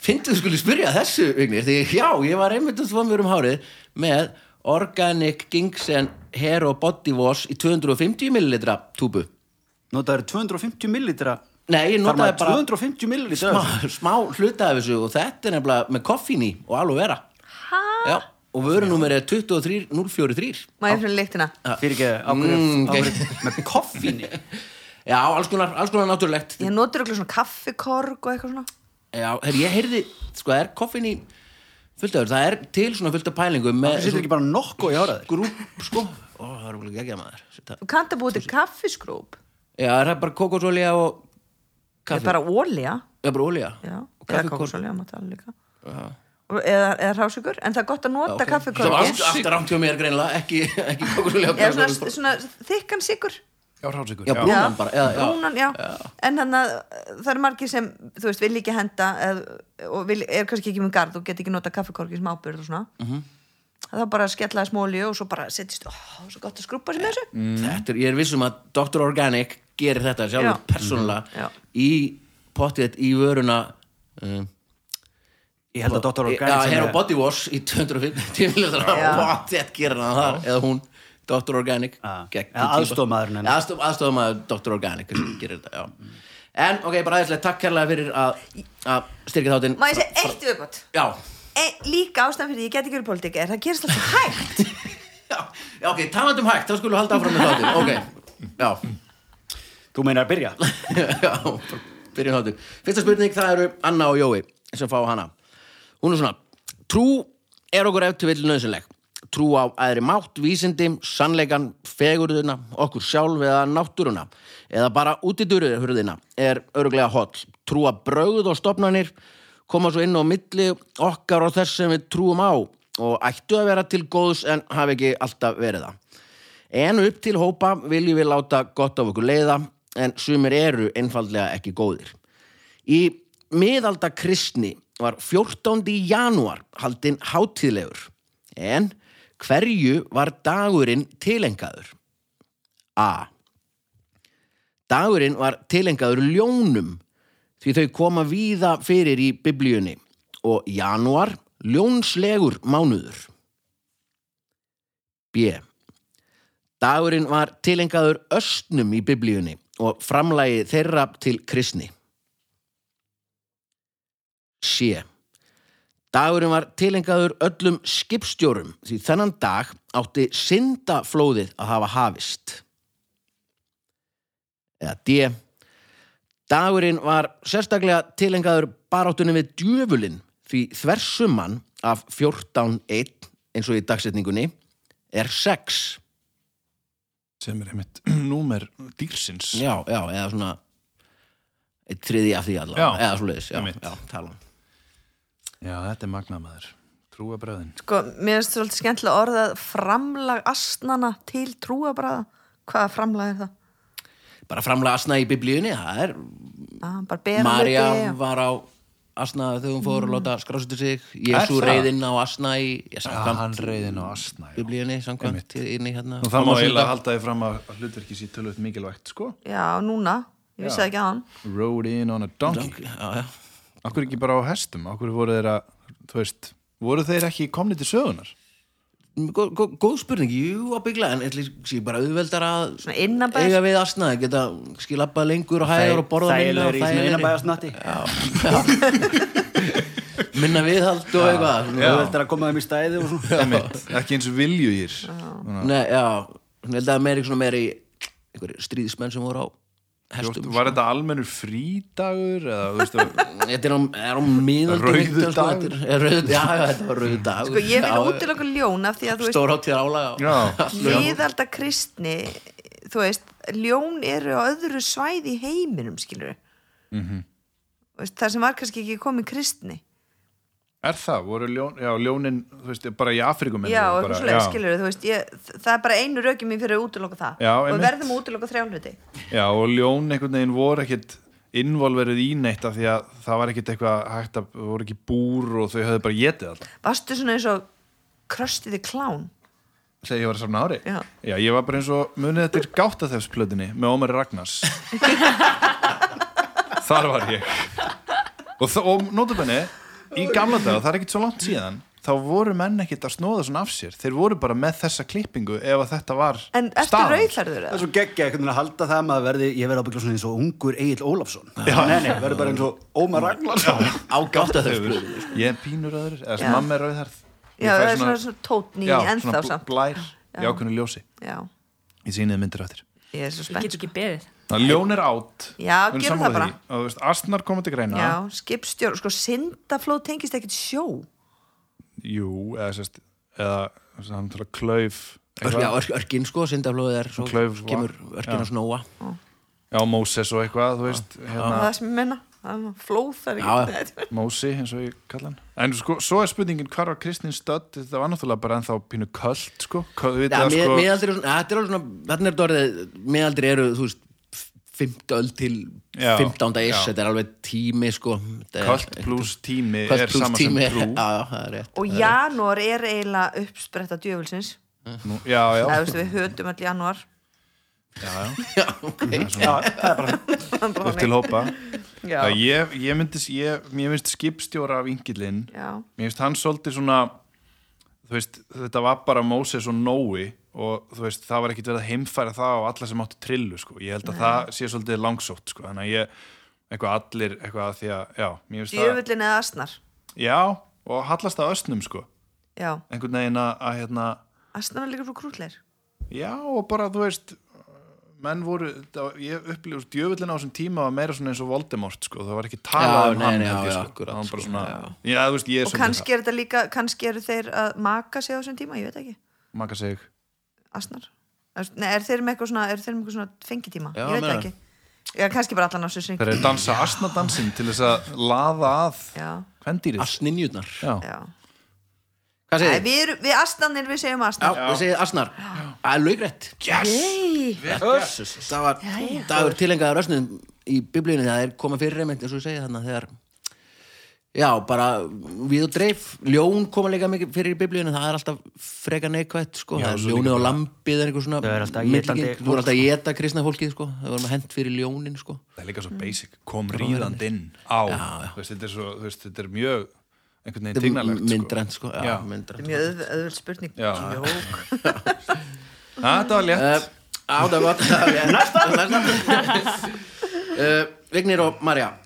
A: Fyndið þú skulle spyrja þessu, Vignir því já, ég var einmitt að þvá mér um hárið með Organic Ginksen Hair and Body Wash í 250 ml túbu
E: Notaður 250 millilitra
A: Nei, ég notaði
E: Þarf maður
A: bara
E: 250 millilitra af þessu?
A: smá, smá hluta af þessu og þetta er nefnilega með koffín í og alveg vera Já, og vörunúmer er 23043
D: Má ég fyrir lyktina?
E: fyrir ekki ákveður
A: Mm,
E: mm,
A: ok.
E: með koffíni
A: Já, alls konar, alls konar náttúrulegt
D: Ég notur okkur svona kaffikorg og eitthvað svona.
A: Já, hef, ég heyrði, sko, það er koffín í fullt af þessu, það er til svona fullt af pælingum
E: það
A: með
E: setur ekki bara nokko í áraður
A: grúp, sko Ó, það er ekki ekki að maður Setta.
D: Þú kannt að búið til kaffiskrúp.
A: Já, það er bara kokosolía og
D: Það er
A: kaffi,
D: bara ólja.
A: það er bara olía
D: Já,
A: og
D: eða
A: kaffi,
D: kókosolja, maður tala líka.
A: Já.
D: Og eða, eða rásugur en það er gott að nota
A: Það
D: okay.
A: var
D: kaffekóki
A: allt- allt rangt hjá mér greinlega, ekki, ekki kókusulega
D: eða svona, svona þykkan sigur
C: Já, hrásikur.
A: Já, brúnan bara, já, já.
D: brúnan, já. en hann að það eru margir sem þú veist, vil ekki henda eð, og vil, er kannski ekki með garð og get ekki nota kaffekorki sem ábyrð og svona mm það bara skella þess móli og svo bara settist, ó, svo gott að skrúpa sér með þessu
A: Mm, Þetta er, ég er vissum að Dr. Organic gerir þetta sjálfur
D: Já. Mm-hmm.
A: persónulega
D: Já.
A: í pottið í vöruna um,
E: Ég held að Mm. Dr.
A: Já,
E: Organic
A: hér á Body Wash í 250 millilitra pottið gerir hann það eða hún, Dr. Organic
E: Já.
A: geggjuð
E: Eða
A: típa.
E: aðstoðarmaðurinn hennar.
A: Eða aðstoð, aðstofmaður Dr. Organic sem gerir þetta, já En, ok, bara aðeinslega, takk kærlega fyrir að að styrkja þáttinn
D: má ég segja eitt viðbót
A: Já,
D: e, líka ástæðan fyrir því ég get ekki verið pólitík er það gerist alltaf hægt
A: já, já, ok, talandi um hægt, þá skulum við halda áfram með þáttinn, ok Já,
E: Þú meinar að byrja
A: Já, bara byrjum þáttu Fyrsta spurning, það eru Anna og Jói sem fá hana Hún er svona Trú er okkur ef til vill nöðsynleg Trú á aðri mátt, vísindi, sannleikan, fegurðina, okkur sjálf eða náttúruna eða bara út í durðina er örglega holl Trú að brauð og stopnanir koma svo inn á milli okkar og þess sem við trúum á og ættu að vera til góðs en hafi ekki alltaf verið það En upp til hópa viljum við láta gott af okkur leiða, en sumir eru einfaldlega ekki góðir. Í miðalda kristni var 14. janúar haldinn hátíðlegur, en hverju var dagurinn tilengaður? A. Dagurinn var tilengaður ljónum, því þau koma víða fyrir í biblíunni og janúar ljónslegur mánuður. B. Dagurinn var tilengaður östnum í biblíunni og framlægi þeirra til kristni. Sjö. Dagurinn var tilengaður öllum skipstjórum því þennan dag átti syndaflóðið að hafa hafist. Eða D. Dagurinn var sérstaklega tilengaður baráttunum við djöfulinn því þversumman af 14.1 eins og í dagsetningunni er 6.
C: Sem er einmitt númer dýrsins.
A: já, já, eða svona eitt þriði af því allavega,
C: Já,
A: eða svoleiðis já,
C: einmitt.
A: já, um. talan
C: Já, þetta er magnamaður. Trúa bröðin.
D: sko, mér finnst svolítið skemmtilega orðað framlag astnana til trúabræða hvaða framlag er það?
A: bara framlega asna í biblíunni, það er
D: Ah, bara bera
A: Marja
D: hluti Mm. og-
A: var á asna þegar hún fór að láta skrásutu sig Jésu
C: Er það?
A: reyðinn á asna í ég,
C: Já,
A: samkvæmt
C: hann reyðin á asna. já.
A: biblíunni, samkvæmt inn í hérna
C: Nú, það má eiginlega
A: Framhaldsmynda.
C: halda því fram að að hlutverki sér tölvöld mikilvægt, sko.
D: já, núna, ég vissi það ekki á hann
C: Rode in on a donkey.
A: já, já.
C: Akkur ekki bara á hestum? Akkur voru þeir að, þú veist, voru þeir ekki komni til sögunar?
A: Góð, góð, góð spurning, jú að byggla en ætli sé bara auðveldar að
D: Svona innanbæjar.
A: eiga við asna, geta skilabba lengur og hægur og borða minna
E: Þægilegri
A: og
E: í svona
A: þægilegri.
E: einabæðast natti
A: minna viðhald og eitthvað
E: Þú veldur að koma þeim í stæði og svona
C: Einmitt, ekki eins og viljugir.
A: Nei, já, hún held að meiri svona meiri einhverjir stríðismenn sem voru á hestum
C: Var þetta almennur frídagur? Eða, þú veist, var-
A: Þetta er á, er á miðaldi
C: Rauður
A: viktan, sko,
C: dagur.
A: þetta er- er rauður- Já, já, þetta var rauður dag
D: sko, ég vil útiloka ljón af því að þú veist
A: Stór hátíðar álega
C: já,
D: miðalda kristni þú veist, ljón eru á öðru svæði í heiminum, skilur
C: Mhm.
D: mm -hmm. það sem var kannski ekki komið kristni
C: er það? Voru ljón, já, ljónin, þú veist, bara í Afrikum?
D: já, og eitthvað svoleiðis, skilur þú veist, ég, það er bara einu raukin mín fyrir að útiloka það
C: Já,
D: og við
C: einmitt.
D: verðum að útiloka þrjálfuti
C: Já, og ljón einhvern veginn voru ekkit involverið í neitt af því að það var ekkit eitthvað hægt að, það voru ekki búr og þau höfðu bara getið alltaf.
D: varstu svona eins og kröstiði klán
C: Þegar ég var að safna ári.
D: Já.
C: ég var bara eins og munið þetta er gáttaþefsplöðinni með Ómar Ragnars. Þar var ég. Og, þa- og notabenni, í gamla dag, það er ekkit svo langt síðan, þá voru menn ekkit að snóða svona af sér. Þeir voru bara með þessa klippingu ef að þetta var
D: en ertu
C: staðan.
D: rauðhærður
E: Það er
D: eða?
E: svo geggja einhvern veginn að halda það að maður verði, ég verði ábyggla svona eins og ungur Egil Ólafsson Nei, nei, verði bara eins og Ómar Ragnarsson
A: Á gátta þau
C: Hefur- Ég er pínur öður, eða sem
D: Já.
C: mamma er rauðhærð. Ég
D: já,
C: fæ
D: það er svona, svona tótn í
C: já,
D: ennþá
C: bl-
D: samt
C: blær í ákveðinu ljósi
D: já,
C: ég sýnið myndir eftir
D: ég er svo
B: Ég
D: spennt
B: get ekki beðið.
C: það ljón er átt
D: Já,
C: Við erum
D: gerum
C: sammála
D: það bara.
C: því. og, þú veist, astnar koma til greina
D: já, skipstjórn, sko, syndaflóð tengist ekkit sjó
C: jú, eða sérst eða þú veist, hann til að klauf
A: Já, örk, örkin sko, syndaflóðið er svo
C: Klauf, sko.
A: kemur örkin að snóa
C: já, Móses og eitthvað þú veist,
D: það
C: hérna,
D: er það sem ég menna það var flóð þar í
A: Já, já.
D: Þetta var-
C: Mósi, eins og ég kalla hann En sko, svo er spurningin hvar var Kristín stödd Þetta var náttúrulega bara ennþá pínu köld sko. Kö, við
A: Já,
C: það,
A: mið,
C: sko,
A: miðaldri, er svona, þetta er alveg svona, þarna er þetta orðið miðaldri eru, þú veist f- 15 öld til
C: Já,
A: 15. ish,
C: já.
A: þetta er alveg tími sko, þetta er-
C: Köld plus tími
A: Köld
C: er
A: plús
C: sama
A: tími,
C: sem trú
A: já, já, það er rétt
D: og janúar er eiginlega uppspretta djöfulsins
C: Nú, Já, já,
D: það, þú veist, við hötum all janúar
C: já, já.
A: Já, ok,
E: Já, það er bara
C: upp til hópa
D: já,
C: Já, ég, ég myndist, ég, mér finnst skipstjóra vingillinn,
D: já,
C: mér finnst hann svolítið svona, þú veist, þetta var bara Moses og Nói og þú veist, það var ekkit verið að heimfæra það á alla sem áttu trillu, sko, ég held að það sé svolítið langsótt, sko, þannig að ég eitthvað allir, eitthvað að því að, já mér finnst það,
D: djöfullin eða asnar
C: já, og hallast að östnum, sko
D: já,
C: einhvern veginn að, að hérna,
D: asnar er líka svo krútleir
C: já, og bara, þú veist menn voru, það, ég upplýður djöfullin á þessum tíma var meira svona eins og Voldemort sko, það var ekki talað
A: Já,
C: um
A: nei,
C: hann
A: nei,
C: held
A: já,
C: ég,
A: já,
C: sko.
A: akkurat,
C: hann bara
A: sko,
C: svona,
A: já,
C: já, þú veist, ég er
D: og
C: svolítið
D: kannski er þetta líka, kannski eru þeir að maka sig á þessum tíma, ég veit ekki
C: það. maka sig,
D: asnar Nei, er þeir með eitthvað svona, er þeir með eitthvað svona fengitíma
A: Já,
D: ég veit það
A: meina.
D: ekki Já, kannski bara allan á sér
C: þeir
D: syngi
C: eru að dansa asnadansin til þess að laða að
D: Já,
C: kvendýrið,
A: asninjurnar
C: já,
D: já
A: Hvað
D: Æ,
A: segir þið?
D: við, erum- við asnanir, við segjum
A: Já,
D: asnar
A: þið segið asnar Það er laugrætt
C: yes,
A: Össus, Það var dagur tilengaður ösnum í biblíunni það er koma fyrir reynd eins og ég segi þannig að þegar Já, bara við og dreif ljón koma líka mikið fyrir í biblíunni það er alltaf freka neikvætt sko.
C: Já,
A: það er
C: svo
A: ljónið
C: líka
A: og
C: bara-
A: lampið er einhver svona
E: Þau eru alltaf
A: milligeng.
E: étandi
A: Þú er alltaf að geta kristna fólkið sko. það vorum hent fyrir ljónin sko.
C: það er líka svo basic kom ríðand inn á þú veist, þetta er svo, þú veist, þetta er mjög einhvern veginn tignalegt,
A: myndrænt sko. Já,
C: Já.
D: Þetta
A: myndrænt.
D: er mjög auð- auðveld spurning
C: Já.
D: Jók.
C: sko Ha, þetta var
A: Eh,
C: létt,
A: Á, það var Næsta uh, Vignir og Marja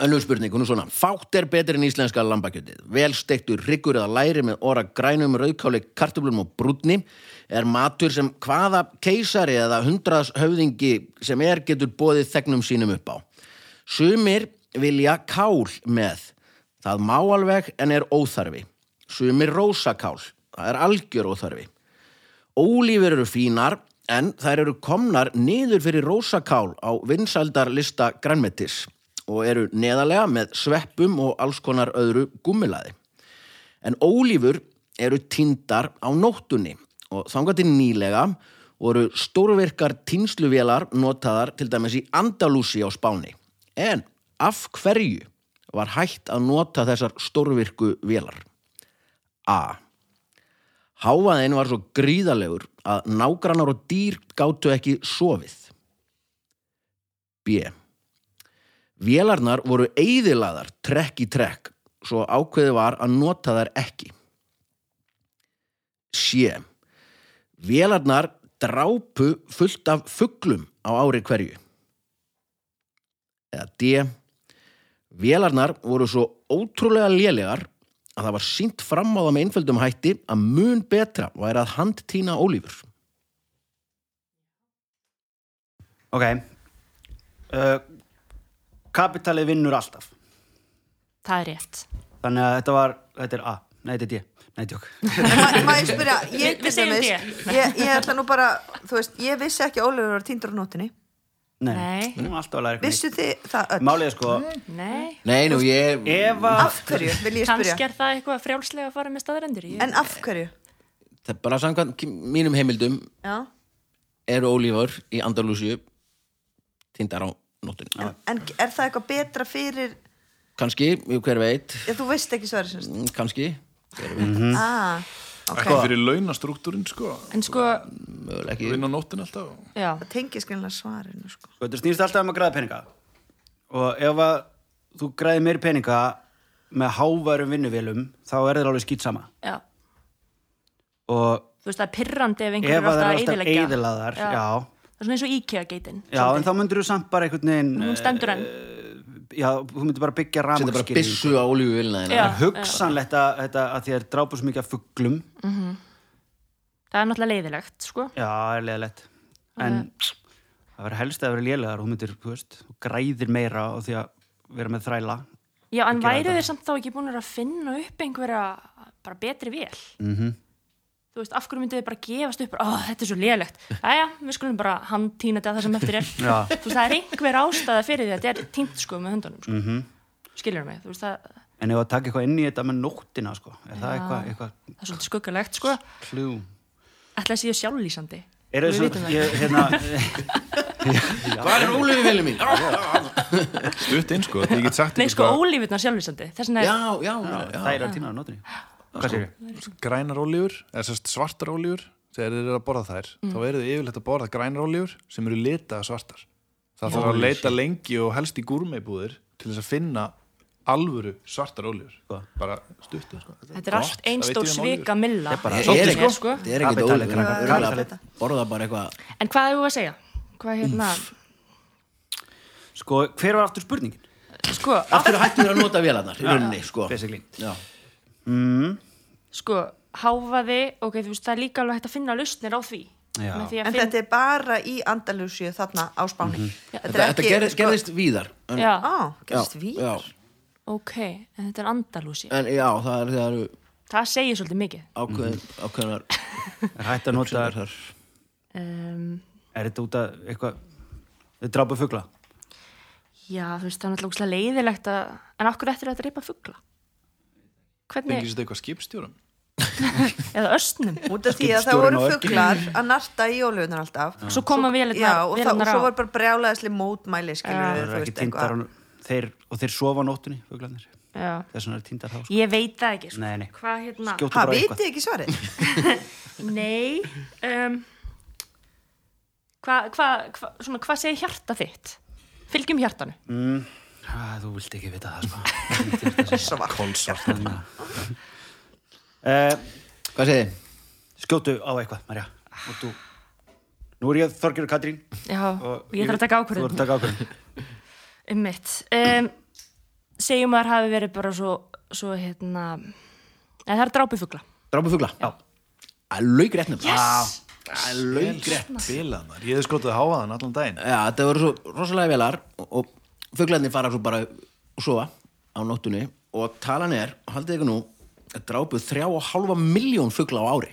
A: Önnur spurning, hún er svona Fátt er betur en íslenska lambakjötið Vel steiktur hryggur eða læri með óra grænum rauðkáli kartöflum og brúnni er matur sem hvaða keisari eða hundraðs höfðingi sem er getur bóðið þegnum sínum upp á Sumir vilja kál með Það má alveg en er óþarfi Sumir rósakál Það er algjör óþarfi Ólífur eru fínar en þær eru komnar niður fyrir rósakál á vinsældarlista grænmetis og eru neðalega með sveppum og alls konar öðru gummilaði. En ólífur eru týndar á nóttunni og þangað til nýlega voru stórvirkar týnsluvélar notaðar til dæmis í Andalúsi á Spáni. En af hverju var hægt að nota þessar stórvirku vélar? A. Hávaðin var svo gríðalegur að nágrannar og dýr gátu ekki sofið. B. Vélarnar voru eyðilaðar trekk í trekk svo ákveði var að nota þær ekki. C. Vélarnar drápu fullt af fuglum á ári hverju. Eða D. Vélarnar voru svo ótrúlega lélegar að það var sínt fram á það með einföldum hætti að mun betra væri að handtína ólífur.
E: Ok uh, Kapitalið vinnur alltaf
B: Það er rétt.
E: Þannig að þetta var, þetta er A Nei, þetta er D Nei, tjók
D: En ma- Má ég spyrja, ég
B: Við segjum
D: dæmis-
B: þér.
D: ég, ég ætla nú bara, þú veist, ég vissi ekki að Ólefur var tíndur á nótinni
E: Nei,
B: Nei.
E: Við erum alltaf að læra eitthvað
D: Vissu þið það öll?
E: neitt. Málið er sko
B: Nei,
A: Nei, nú ég...
E: Ef að
D: Af hverju, vil ég spyrja
B: kannski er það eitthvað frjálslega að fara með staðrendur. Ég...
D: En af hverju?
A: Það er bara samkvæmt ki- mínum heimildum
D: Já.
A: eru ólífur í Andalúsiu tindar á nóttunni.
D: En, en er það eitthvað betra fyrir
A: Kanski, hver veit,
D: Já, þú veist ekki sværi sem
A: mm, kanski,
D: mm. ah, ok,
C: ekki fyrir launastruktúrin sko,
B: En sko,
A: mögulega ekki.
C: vinna nóttin alltaf
B: já,
D: það tengis greinlega svarinu sko.
E: sko, Þetta snýst alltaf um að græða peninga Og ef að þú græði meir peninga með háværum vinnuvélum þá er það alveg skýt sama
B: já.
E: og
B: Þú veist, það er pirrandi ef einhver
E: ef
B: er
E: að það
B: alltaf
E: er
B: að
E: alltaf
B: eyðileggja.
E: eðilaðar já. já,
B: Það er svona eins og IKEA-geitin.
E: en þá myndir þú samt bara einhvern veginn
B: Hún stendur enn.
E: eh, Já, þú myndir bara byggja
A: Þetta er bara
E: rafmagnskýringu.
A: byssu á ólífuvélina þína.
B: Já.
E: En hugsanlegt að, þetta, að þér drápu svo mikið af fugglum
B: Það er náttúrulega leiðilegt, sko.
E: Já, það er leðalegt En það verður helst að vera lélegar Þú myndir, þú veist, þú græðir meira á því að vera með þræla
B: Já, en væru þeir samt þá ekki búin að finna upp einhverja bara betri vél? Mm -hmm. þú veist, af hverju myndið þið bara gefast upp, ó, þetta er svo lélegt Jæja, við skulum bara handtína þetta það sem eftir er
E: Já.
B: þú veist, það er einhver ástæða fyrir því að þetta er tínt sko með höndunum sko. mm -hmm. skilur mig, þú veist, það,
E: En ef að taka eitthvað inn í þetta með nóttina, sko, er það
B: Já.
E: eitthvað, eitthvað
B: það er svolítið skuggalegt sko,
E: klú?
B: ætla að séu sjálflýsandi
E: Er
B: Við
E: það
B: vitum
E: svo,
B: það.
E: ég, hérna,
A: Hvað er Óliði velið mín?
C: stutt inn sko, ég get sagt
B: Nei,
C: ykkur
B: sko,
C: hvað-
B: ólífurnar sjálflýsandi þess vegna
A: Já,
B: er,
A: já, já, já.
E: það er að tína á nóttinni. Hvað sér ég?
C: grænar ólífur, eða sérst svartar ólífur þegar þeir eru að borða þær þá eru þau yfirleitt að borða grænar ólífur sem eru litaða svartar það þarf að leita lengi og helst í gúrmeibúðir til þess að finna alvöru svartar ólífur
E: Sko.
C: bara stutt sko.
B: þetta er
C: gott,
B: allt
C: það veit ég
B: einstór
C: um ólífur.
B: svika milla
E: bara-
B: Svolítið,
A: Ég er ekki,
B: sko.
A: þetta er ekki
E: Kapitali,
A: Óliði,
E: krakkar,
A: við erum
E: kapitali.
A: að borða bara eitthvað.
B: en hvað hefur að segja? hvað hérna,
E: Sko, hver var aftur spurningin?
B: sko,
A: Af hverju hættum við að nota vélarnar í rauninni, sko?
E: Basically.
A: Já.
B: sko háfaði, ok, þú veist, það er líka alveg hægt að finna lausnir á því
E: Já.
B: Með því að
D: en
B: finna-
D: þetta er bara í Andalusíu þarna á Spáni
A: Þetta, þetta gerðist, gerðist víðar. En,
B: já,
D: sko- á, gerðist
A: já,
D: við
A: Já,
B: ok, en þetta er Andalúsi
A: en já, það er- það eru
B: það segir svolítið mikið
A: ákveðin, ákveðinar
E: Er hægt að nota,
A: það er
B: um,
E: er þetta út að eitthvað, þau drápa fugla?
B: já, þú veist, það er náttúrulega ógeðslega leiðilegt að, en okkur eftir að reypa fugla hvernig,
C: Tengist þetta eitthvað skipstjórum?
B: eða östnum
D: út af því að það
C: Skipstjórinn
D: voru
C: á ökkinum.
D: fuglar að narta í ólegunar alltaf
B: svo koma
D: já, og, það, og
B: vélarnar
D: svo
B: á
D: var bara brjálæðisli mótmæli skilur
E: Það
D: við,
E: er
D: þú
E: ekki
D: veist,
E: tindar,
D: eitthvað
E: á- þeir, og þeir sofa á nóttinni, fuglarnir.
B: já.
E: Þess vegna er tindar þá, sko.
B: ég veit það ekki sko.
E: Nei, nei.
B: hvað hérna,
E: Skjóttu
D: ha,
E: bara á
D: vitið
E: eitthvað.
D: ekki svarið
B: Nei um, Hvað hva, hva, svona, Hvað segir hjarta þitt? Fylgjum hjartanu
E: Mm. Ah, Þú vilt ekki vita það, sko.
C: Kolsvart
E: Eh,
A: Hvað segir þið?
E: Skjótu á eitthvað, Marja og þú Nú er ég Þorgjur og Katrín
B: Já,
E: og
B: ég þarf
E: Þú
B: að taka
E: þarf
B: ákvörðun
E: að taka ákvörðun
B: um mitt um, Segjum að það hafi verið bara svo, svo hérna eða það er drápufugla
A: Drápa fugla? Já. Það er laugrétt nefnilega.
B: yes!
A: Það er laugrétt.
C: Bilað maður, ég hefði skotið háaðan allan daginn
A: Já, þetta voru svo rosalega velar og, og fuglarnir fara svo bara og sofa á nóttunni og talan er, haldið ykkur nú, að drápu þrjá og halva miljón fugla á ári.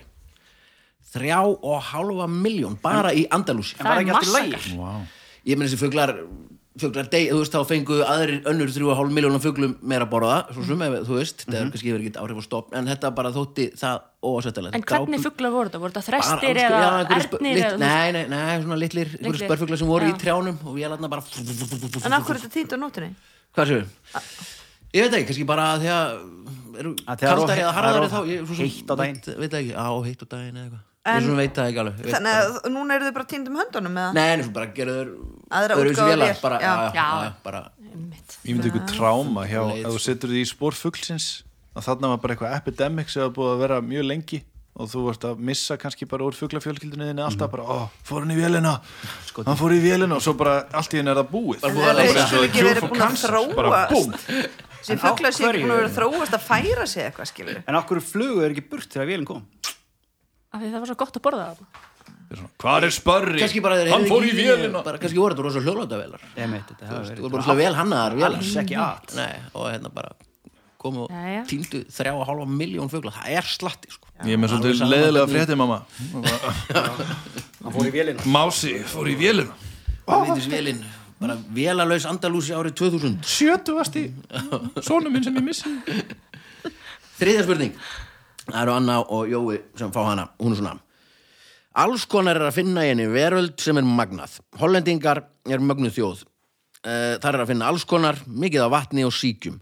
A: Þrjá og halva miljón, bara í Andalúsi.
B: Það er massakar
E: lagi
C: wow.
A: ég meina þessi fuglar fuglar deg, þú veist, þá fengu aðrir önnur 3,5 miljónum fuglum meira að borða svo sem, ef, þú veist, það er kannski yfir ekkert áhrif og stopp en þetta bara þótti það óásættalegt
B: En hvernig fuglar voru þetta? Voru þetta þrestir eða ernir?
A: lit,
B: eða-
A: nei, nei, nei, svona litlir, einhverju
B: Litlir,
A: spörfuglar sem voru
B: já.
A: í trjánum og ég laðna bara hvað
D: en af hverju þetta týnt á nótunni
A: séu ég veit ekki, kannski bara að því að eru
E: Að þegar of-
A: kaldari eða
E: það er
A: harðari
E: of
A: þá ég, svo sem
E: heitt á daginn.
A: veit, veit það ekki, á heitt á daginn eða eitthvað
D: En-
A: ég svona veit það ekki alveg ég veit
D: þannig
A: bara-
D: að núna eru þau bara týnd um höndunum eða?
A: nei, en svo bara gerður
D: Aðra útgáfu
A: vélar,
D: vél,
A: bara,
D: já.
A: já, já,
B: Já.
A: já, bara
B: Einmitt.
C: Ég myndi ykkur tráma hjá,
A: Leið,
C: ef þú
A: sko.
C: setur því í spór fuglsins að þarna var bara eitthvað epidemic sem var búið að vera mjög lengi og þú vart að missa kannski bara úr fuglafjölkildinu þinni
A: Mhm.
C: alltaf bara, ó, fór hann í vélina hann fór í vélina og svo bara allt í henni er það búið
A: Sko, Bara búið að
C: Það er
A: leysa.
D: Þeir
C: eins og
D: skulu ekki
C: Cure
D: verið
C: for
D: búin að
C: Cancer,
D: þróast.
C: bara búm
D: sem fuglar séu
E: hverju?
D: ekki búin að vera að þróast að færa sig eitthvað skilur við.
E: En af hverju flugu er ekki burt þegar vélum kom?
B: Af því það var svo gott að borða það
C: Hvað er spörri?
A: kannski bara þeir
C: Hann
A: heyrðu
C: fór í
A: ekki
C: vélina
A: bara, kannski voru þetta rosa hljóðláta velar
E: Ég meit þetta, það
A: þú voru
E: hefur verið
A: bara svona vel hannaðar velar
E: Alls ekki at.
A: Nei, og hérna bara komu og
B: Jæja.
A: týndu þrjá og halva miljón fugla það er slatti sko
C: Ég er með svolítið
A: sama
C: leiðilega
A: hvernig-
C: frétti mamma
E: Hann fór í vélina
C: Mási fór í vélina
A: Vinnis velin, bara velalaus Andalúsi árið 2000
C: Sjötugasti Sónu minn sem ég missi
A: þriðja spurning það eru Anna og Jói sem fá hana hún er svona alls konar er að finna í henni veröld sem er magnað hollendingar er mögnuð þjóð Eh, þar er að finna alls konar mikið af vatni og síkjum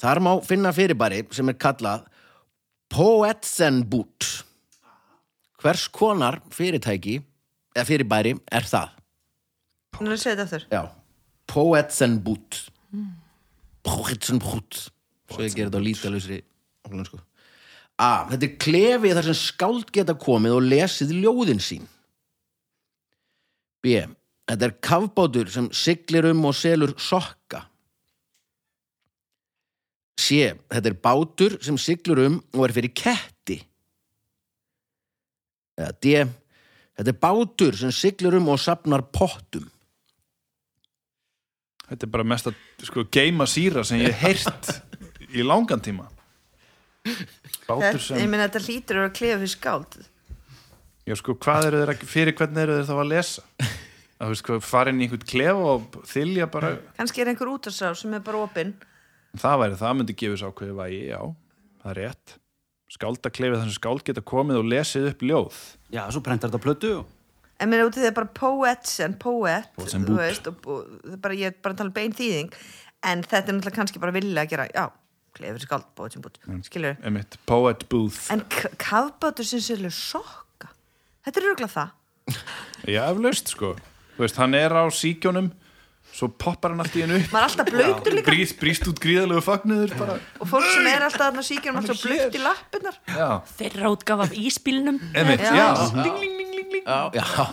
A: þar má finna fyrirbæri sem er kallað Poetsenbút hvers konar fyrirtæki eða fyrirbæri er það
D: Nú segir þetta aftur
A: já, Poetsenbút Poetsenbút svo ég gerir þetta á lítalausri hollensku. A. Þetta er klefið þar sem skáld geta komið og lesið ljóðin sín. B. Þetta er kafbátur sem siglir um og selur sokka. C. Þetta er bátur sem siglir um og er fyrir ketti. Eða D. Þetta er bátur sem siglir um og sapnar pottum.
C: Þetta er bara mesta sko, geima síra sem ég hef heyrt í langan tíma
D: Þetta-
C: Bátur
D: ég
C: sem
D: meina þetta hlýtur að vera klefi skáld
C: Já, sko, hvað eru þeir ekki, fyrir hvernig eru þeir þá að lesa? Það veist, hvað, farin í einhvern klef og þylja bara,
D: kannski er einhver útasrá sem er bara opinn
C: það væri það, myndi gefið sá hverju vægi, já, það er rétt. Skáldaklefið þar sem skáld geta komið og lesið upp ljóð.
E: Já, svo prentar þetta á plötu og
D: en mér er útið þegar bara poets en poet
C: Poets and
D: þú
C: boot.
D: veist, og, og, það er bara, ég er bara að tala um bein þýðing en þetta er náttúrulega kannski bara vilja að gera já, klefur skáld, poets and boot skilur
C: Emitt, poet booth.
D: en k- kafbátur sem sérlega sokka þetta er röglega það
C: Já, eflaust, sko. Þú veist, hann er á síkjónum, svo poppar hann allt í hennu upp.
D: maður er alltaf blöytur líka
C: Brýst, brýst út gríðalegu fagnuður bara.
D: og fólk sem er alltaf þarna síkjum er alltaf blöyt í lappirnar
C: Já,
B: Þeirra útgaf af íspilnum
C: emitt,
D: Já.
C: já.
A: Já, já,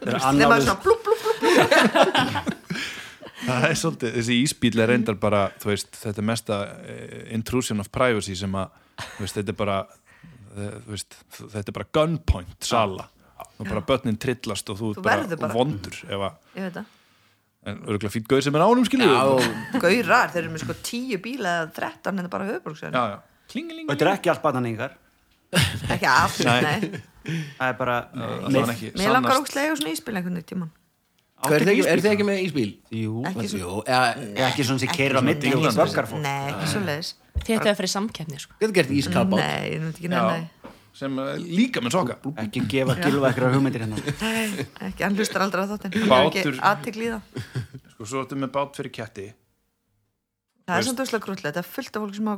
E: þeir
D: þegar maður
E: eru
D: er
E: annáluð
D: svona blúp blúp blúp
C: Það er svolítið, þessi ísbíl er reyndar bara, þú veist, þetta er mesta eh, intrusion of privacy sem að, þú veist, þetta er bara, eh, þú veist, þetta er bara gunpoint sala. Og bara börnin trillast og þú,
D: Þú
C: ert
D: verður bara.
C: vondur, ef að,
D: ég veit það
C: en örgulega fýtt gauð sem er ánum, skilur
A: já,
C: við.
D: gaurar, þeir eru með sko tíu bíla eða þrettan en það bara höfuborgsverðin
C: Já, já. Klingeling.
E: og þetta er ekki allt bannaningar
D: ekki allt,
C: Nei.
D: nei
E: það er bara uh,
C: Það er ekki
D: mér langar
C: sannast.
D: ógstlega svona íspil einhvern veginn tíman
A: er þið ekki, er þið ekki með ísbíl?
E: Jú,
D: Ekki svo-
A: Jú, eða,
E: Ég er ekki svona sem keirur á milli
C: England.
E: og svörgar fólk
D: nei, ekki svo leiðis
B: Þetta er fyrir samkeppni sko.
A: getur gert ískapbát
D: nei, ég veit ekki
C: Já,
D: nefn
C: sem eh, líka með soka.
E: ekki gefa gilva eitthvað hugmyndir hérna
D: ekki, hann hlustar aldrei á þáttinn Hann er
C: Bátur.
D: ekki aðtikli í það
C: Sko, svo ertu með bát fyrir ketti
D: það
C: Veist.
D: er samt óslega grútlega, þetta er fullt af fólk sem á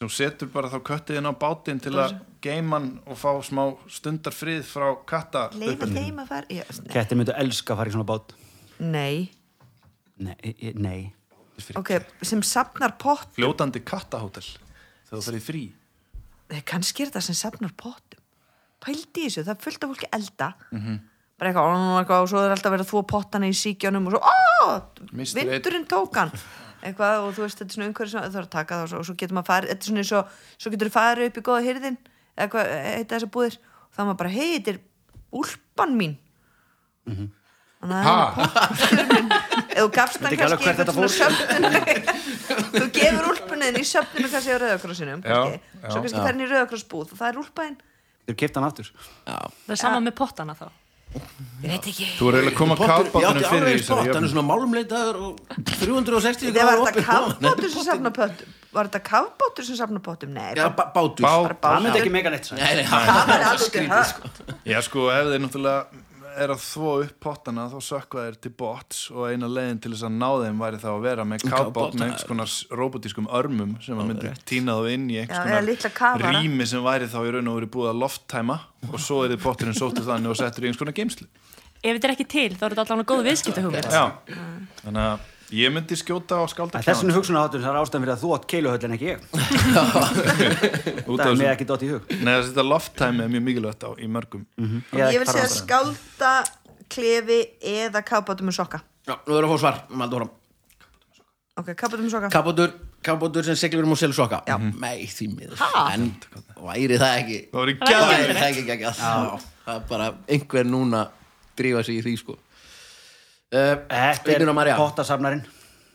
C: sem setur bara þá köttiðin á bátinn til að geima hann og fá smá stundar frið frá katta
D: leiða þeim að fara Já, nei.
E: Kettir myndu elska að fara í svona bát
D: nei,
E: Nei, ég- nei
D: ok, sem safnar pott
C: fljótandi kattahótel þegar þú ferði frí
D: Nei, kannski er þetta sem safnar pottum pældi í þessu, það er fullt af fólki elda bara eitthvað, ó, eitthvað og svo er alltaf verið að þvó pottana í síkjónum og svo, ó,
C: Mistur einn.
D: vindurinn tók hann eitthvað og þú veist, þetta er svona umhverju sem það þarf að taka það og svo, og svo getur maður farið, þetta er svona eins og svo getur þú farið upp í góða hyrðin eða hvað, heita þessa búðir og þá er maður bara, hei, þetta er úlpan mín þannig að það er
C: ha,
D: Ef þú gafst hann
E: Veit ekki alveg
D: kannski
E: hvert
D: einhvern svona söfnun Þú gefur úlpunniðin í söfnunum kannski á rauðakrossinum kannski.
C: Já, já.
D: Svo kannski fer hann í rauðakrossbúð og það er úlpaðin
E: Þú kipta hann aftur
B: Það er sama með pottana þá
D: Ég veit ekki
C: þú er eiginlega að koma
A: Ég
C: kattbátunum
A: átti
C: fyrir
A: alveg
C: í þessari
A: spott, hann er
C: jöfnu.
A: svona málumleitaður og 360
D: Þegar var
A: gráður
D: þetta
A: opið
D: kafbátur sem safna pöttum Var þetta kafbátur sem safna pöttum? Nei,
A: Já, bá- bátur
C: Bát-
E: Það
D: bátur
E: myndi ekki mega neitt sætt
A: Nei, nei,
D: Það
A: hann
D: var alveg hægt
C: já sko ef þeir náttúrulega er að þvó upp pottana þá sökva þeir til bots og eina leiðin til þess að ná þeim væri þá að vera með
A: Kafbát,
C: kattbát með
A: það
C: einhvers konar robotískum örmum sem að myndi tína þá inn í
D: Já, eða
C: einhvers
D: litla
C: konar
D: kafara.
C: rými sem væri þá í raun og verið búið að lofttæma og svo er þið potturinn sóttu þannig og settur í einhvers konar geimslu
B: Ef þetta er ekki til þá eru þetta allavega góð viðskiptahugmynd
C: Já, þannig að ég myndi skjóta á
E: Þessin
C: skaldakjána
E: hugsunaháttur það er ástæðan fyrir að þú átt keiluhöll en ekki ég
C: út
E: Það
C: af
E: er mig
C: þessu.
E: ekki dótt í hug
C: Nei, þessi þetta lofttæmi er mjög mikilvægt á í mörgum.
E: Mhm.
D: Ég vil segja skálda, klefi eða kafbátur með sokka
A: Já, nú erum við að fá svar, um aldóra
D: Ok, kafbátur með sokka
A: Kapbátur, kapbátur sem seglir um og selur soka Já Nei, því miður En væri það ekki
C: Það voru
B: Það væri
A: Væri
C: gæðið.
A: það ekki ekki ekki Það er bara einhver núna drífa sig í því sko Eh,
E: Þetta
A: Þetta
E: er pottasafnarinn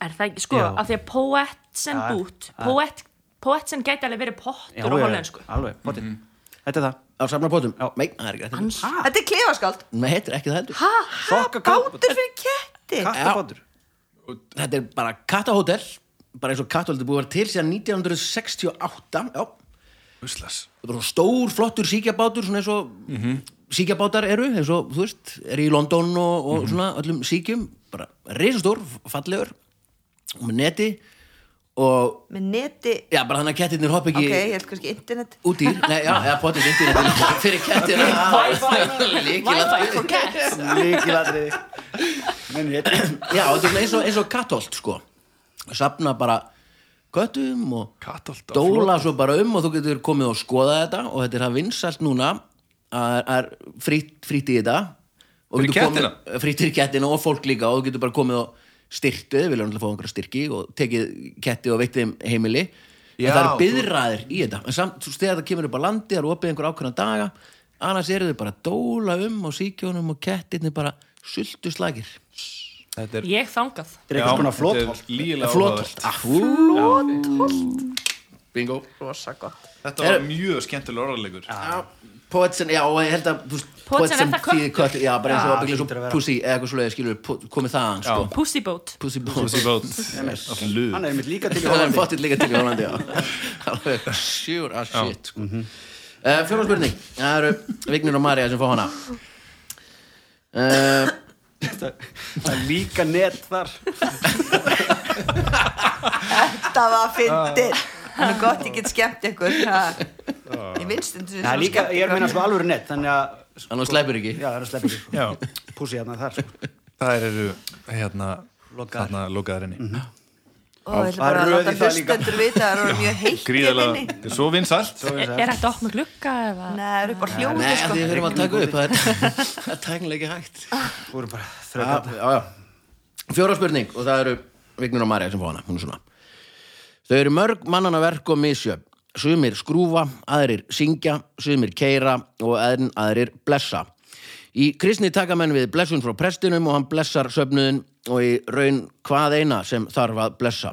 B: Er það ekki, sko,
E: Já.
B: af því að poet sem
E: Já,
B: bút
E: já.
B: poet, poet sem gæti alveg verið
E: Já,
B: pottur á
E: já,
D: sko.
B: hollensku
E: Alveg, pottin Þetta er það
A: Á safnarbótum?
E: Já.
A: Nei, það er ekki þetta heldur.
D: Þetta er klefaskáld
A: Nei, þetta er ekki það heldur
D: Ha, ha,
E: Sokka kafbátur.
D: bátur fyrir ketti
E: Kattapottur
A: Þetta er bara kattahótel Bara eins og kattahótel búið að vera til síðan 1968 Já,
C: Úslas.
A: þetta er svona stór, flottur síkjabátur Svona eins og síkjabátar eru eins og, þú veist, er í London og, og svona öllum síkjum bara risastór, fallegur og með neti og,
D: Með neti
A: já, bara þannig að kettirnir hopp ekki
D: Ok, ég held kannski internet
A: út í, nei, já, eða potið internet fyrir kettir
B: Wi-Fi
A: Líkilega
B: for cats
E: Líkilatri Menn ég
A: Já, þetta er svona eins og, eins og kattholt sko Safna bara köttum og
C: Katholt á
A: dóla svo bara um og þú getur komið og skoða þetta og þetta er það vinsalt núna að er frýtt frýtt í þetta og
C: Fyrir
A: getur komið-
C: kettina?
A: frítt fyrir kettina og fólk líka og þú getur bara komið og styrtu við viljum alltaf fá einhverja styrki og tekið ketti og veitt þeim heimili
C: Já,
A: en það eru
C: þú-
A: byðraðir í þetta en samt, þú veist, þegar það kemur upp á landi það eru opið einhver ákveðna daga annars eru þau bara að dóla um á síkjónum og kettirni bara sultu slagir
C: Þetta er...
B: Ég þangað
E: Þetta er eitthvað svona flótholt
A: Ah,
C: Lígilega
A: flótholt
C: áhugavert.
A: flótholt Bingo
D: rosa gott
C: Þetta var mjög skemmtilega orðalegur
A: Já, Poetsen, já, og ég held að þú veist,
B: Poetsen er það
A: þýðir kött Já, bara eins og
E: Já,
A: byggja
E: hlýtur
A: svo
E: að vera.
A: pussy eða eitthvað svoleiði, skilur, po- komið þaðan, sko
B: Pussyboat
A: Pussy
C: Pussy
A: bones
C: Boat Of Lug
E: Hann er einmitt líka til í
A: Það er
E: Hollandi
A: fóttið líka til í Hollandi, já Alveg sure as shit, sko uh, Fjóra spurning, það eru Vignir og Marja sem fá hana uh,
E: Það er líka net þar
D: það var fyndir hann er gott, ég get skemmt ykkur ha. ég vinst um
E: Það er líka, ég er að meina sko alvöru net Þannig að,
A: Annars sleipur ekki
E: já, það er að sleppa ekki
C: Já,
E: Púsi hérna þar sko
C: það eru hérna
E: Lokaðar. Mhm.
C: Þarna lokaðar inni
D: og ég ætla
E: Það er
D: bara að
E: röð í
D: láta
E: það líka.
D: hlustendur vita það er orðið mjög heitt
C: Gríðalega,
D: Gríðalega.
C: þetta er svo vinsælt
B: Er er hægt að opna glugga eða?
D: Nei, það er upp á hljóðu
A: Nei,
D: sko.
A: því við erum að taka upp Það er- það er tæknilega ekki hægt
E: Þú eru bara þrjóð
A: já, já, já. Fjóra spurning og það eru Vignur og Marja sem fá hana, hún er svona Þau eru mörg mannana verk og misjöf Sumir skrúfa, aðrir syngja, sumir keira og aðrin aðrir blessa Í kristni taka menn við blessun frá prestinum og hann blessar söfnuðin og í raun hvað eina sem þarf að blessa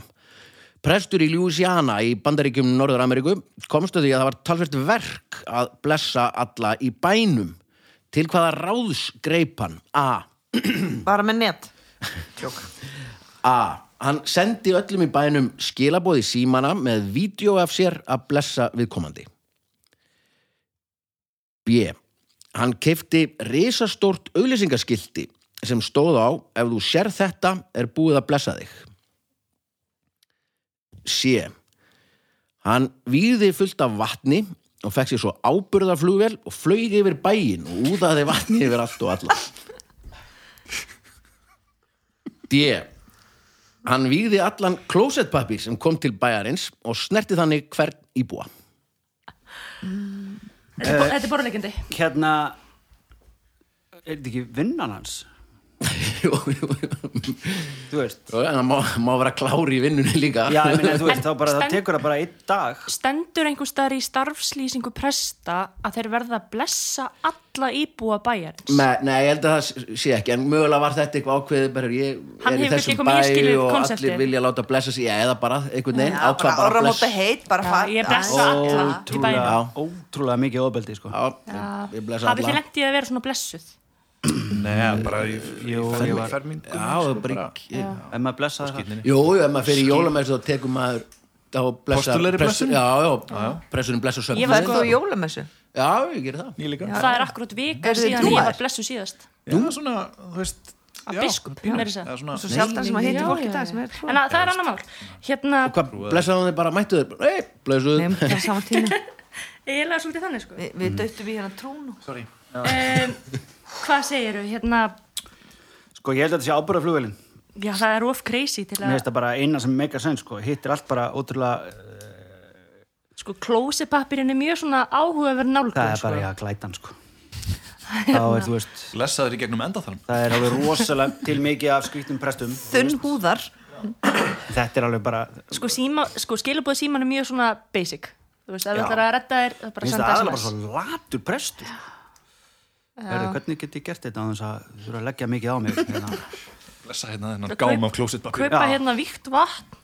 A: Prestur í Louisiana í bandaríkjum Norður-Ameríku komst að því að það var talvert verk að blessa alla í bænum til hvaða ráðs greip hann A.
D: bara með net
A: A. Hann sendi öllum í bænum skilaboði símana með vídeo af sér að blessa viðkomandi. B. Hann keifti risastórt auglýsingaskilti sem stóð á ef þú sér þetta er búið að blessa þig. C. Hann výði fullt af vatni og fekk sér svo áburðarflugvel og flög yfir bæin og úðaði vatni yfir allt og alla. D. Hann výði allan klósettpapir sem kom til bæjarins og snerti þannig hvern íbúa.
B: Þetta er bo- þetta er boruleikindi
E: Hérna Er þetta ekki vinnan hans?
A: Jú, jú, jú.
E: Þú veist
A: en það má, má vera klári í vinnunni líka.
E: Já, ég meina, þú veist, þá bara, það
B: stend-
E: tekur það bara einn dag
B: Stendur einhver staðar í starfslýsingu presta að þeir verða að blessa alla íbúa bæjarins
A: Me, nei, ég held að það sé ekki, en mögulega var þetta eitthvað ákveðið, bara ég
B: Hann
A: er í
B: hefur ekki
A: þessum
B: komið í skilið
A: bæ og
B: konseptið.
A: allir vilja láta blessa sig, já, eða bara einhvern veginn,
D: Já, bara
A: ákvað bara að
D: áramóta
A: blessa.
D: heitt bara
B: Já,
D: fara-
B: ég blessa
D: Æ,
B: alla í
E: Ótrúlega,
B: bænum
E: ótrúlega mikið ofbeldi, sko
A: Já, ég- ég blessa
B: Hafið þið
A: alla.
B: lendið að vera svona blessuð?
C: Nei, bara í
E: Jú, ég var-
C: ferming
A: Já, það er bara ekki.
E: En maður blessaði það
A: Jú, jú, ef maður fyrir jólamessu þá tekur maður þá blessa,
C: Postulegri
A: pressu-
C: blessun?
A: já, já, pressunum blessa söfnum
B: Ég
D: það
B: var
D: er þú á jólamessu
A: Já, ég gerir það
C: Ég líka
B: Það er akkurat vika
D: Eru þið
B: síðan ég
D: trúaðir?
B: var blessuð síðast
C: Já, svona, þú veist
B: Að
C: já,
B: biskup,
C: pínu.
B: meira að segja.
C: Eða svona-
D: svo sjaldan sem að
A: nei,
D: hitti
B: nei,
D: fólk
B: já,
D: í dag
B: já.
D: sem er
B: En að, það er annar mál Hérna,
A: Hvað, blessaðu þið bara, mættu þið Nei, blessuðu
D: Nefnum það saman tíma
B: eiginlega svolítið þannig sko
D: Vi, Við döttum í hérna trúnu
C: Sorry.
B: um, Hvað segiru? Hérna,
E: Sko, ég held að þetta sé ábúra flugvelin
B: já það er of crazy til
E: Mér finnst
B: að
E: það bara eina sem meikar senn, sko Hitt er allt bara ótrúlega
B: Sko, klósipapirinn er mjög svona áhugaverð
E: Það
B: nálgun
E: er
B: sko
E: bara, já, glætan, sko Þá er, þú veist
C: Blessaður í gegnum endaþarm
E: Það er alveg rosalega til mikið af skvítum prestum
D: Þunn húðar
E: Þetta er alveg bara
B: Sko, síma, sko skilabóð síman er mjög svona basic Þú veist, ef
E: Já.
B: þetta er að redda þér það er bara
E: Mér
B: að
E: finnst
B: senda
E: það aðalega bara
B: SMS.
E: svo latur prestur Hörru, hvernig get ég gert þetta á þess að þú eru að leggja mikið á mig hérna.
C: Blessa hérna þennan
B: Kaup-
C: gám af klósitpapir
B: Kaupa
E: Já.
B: hérna víkt vatn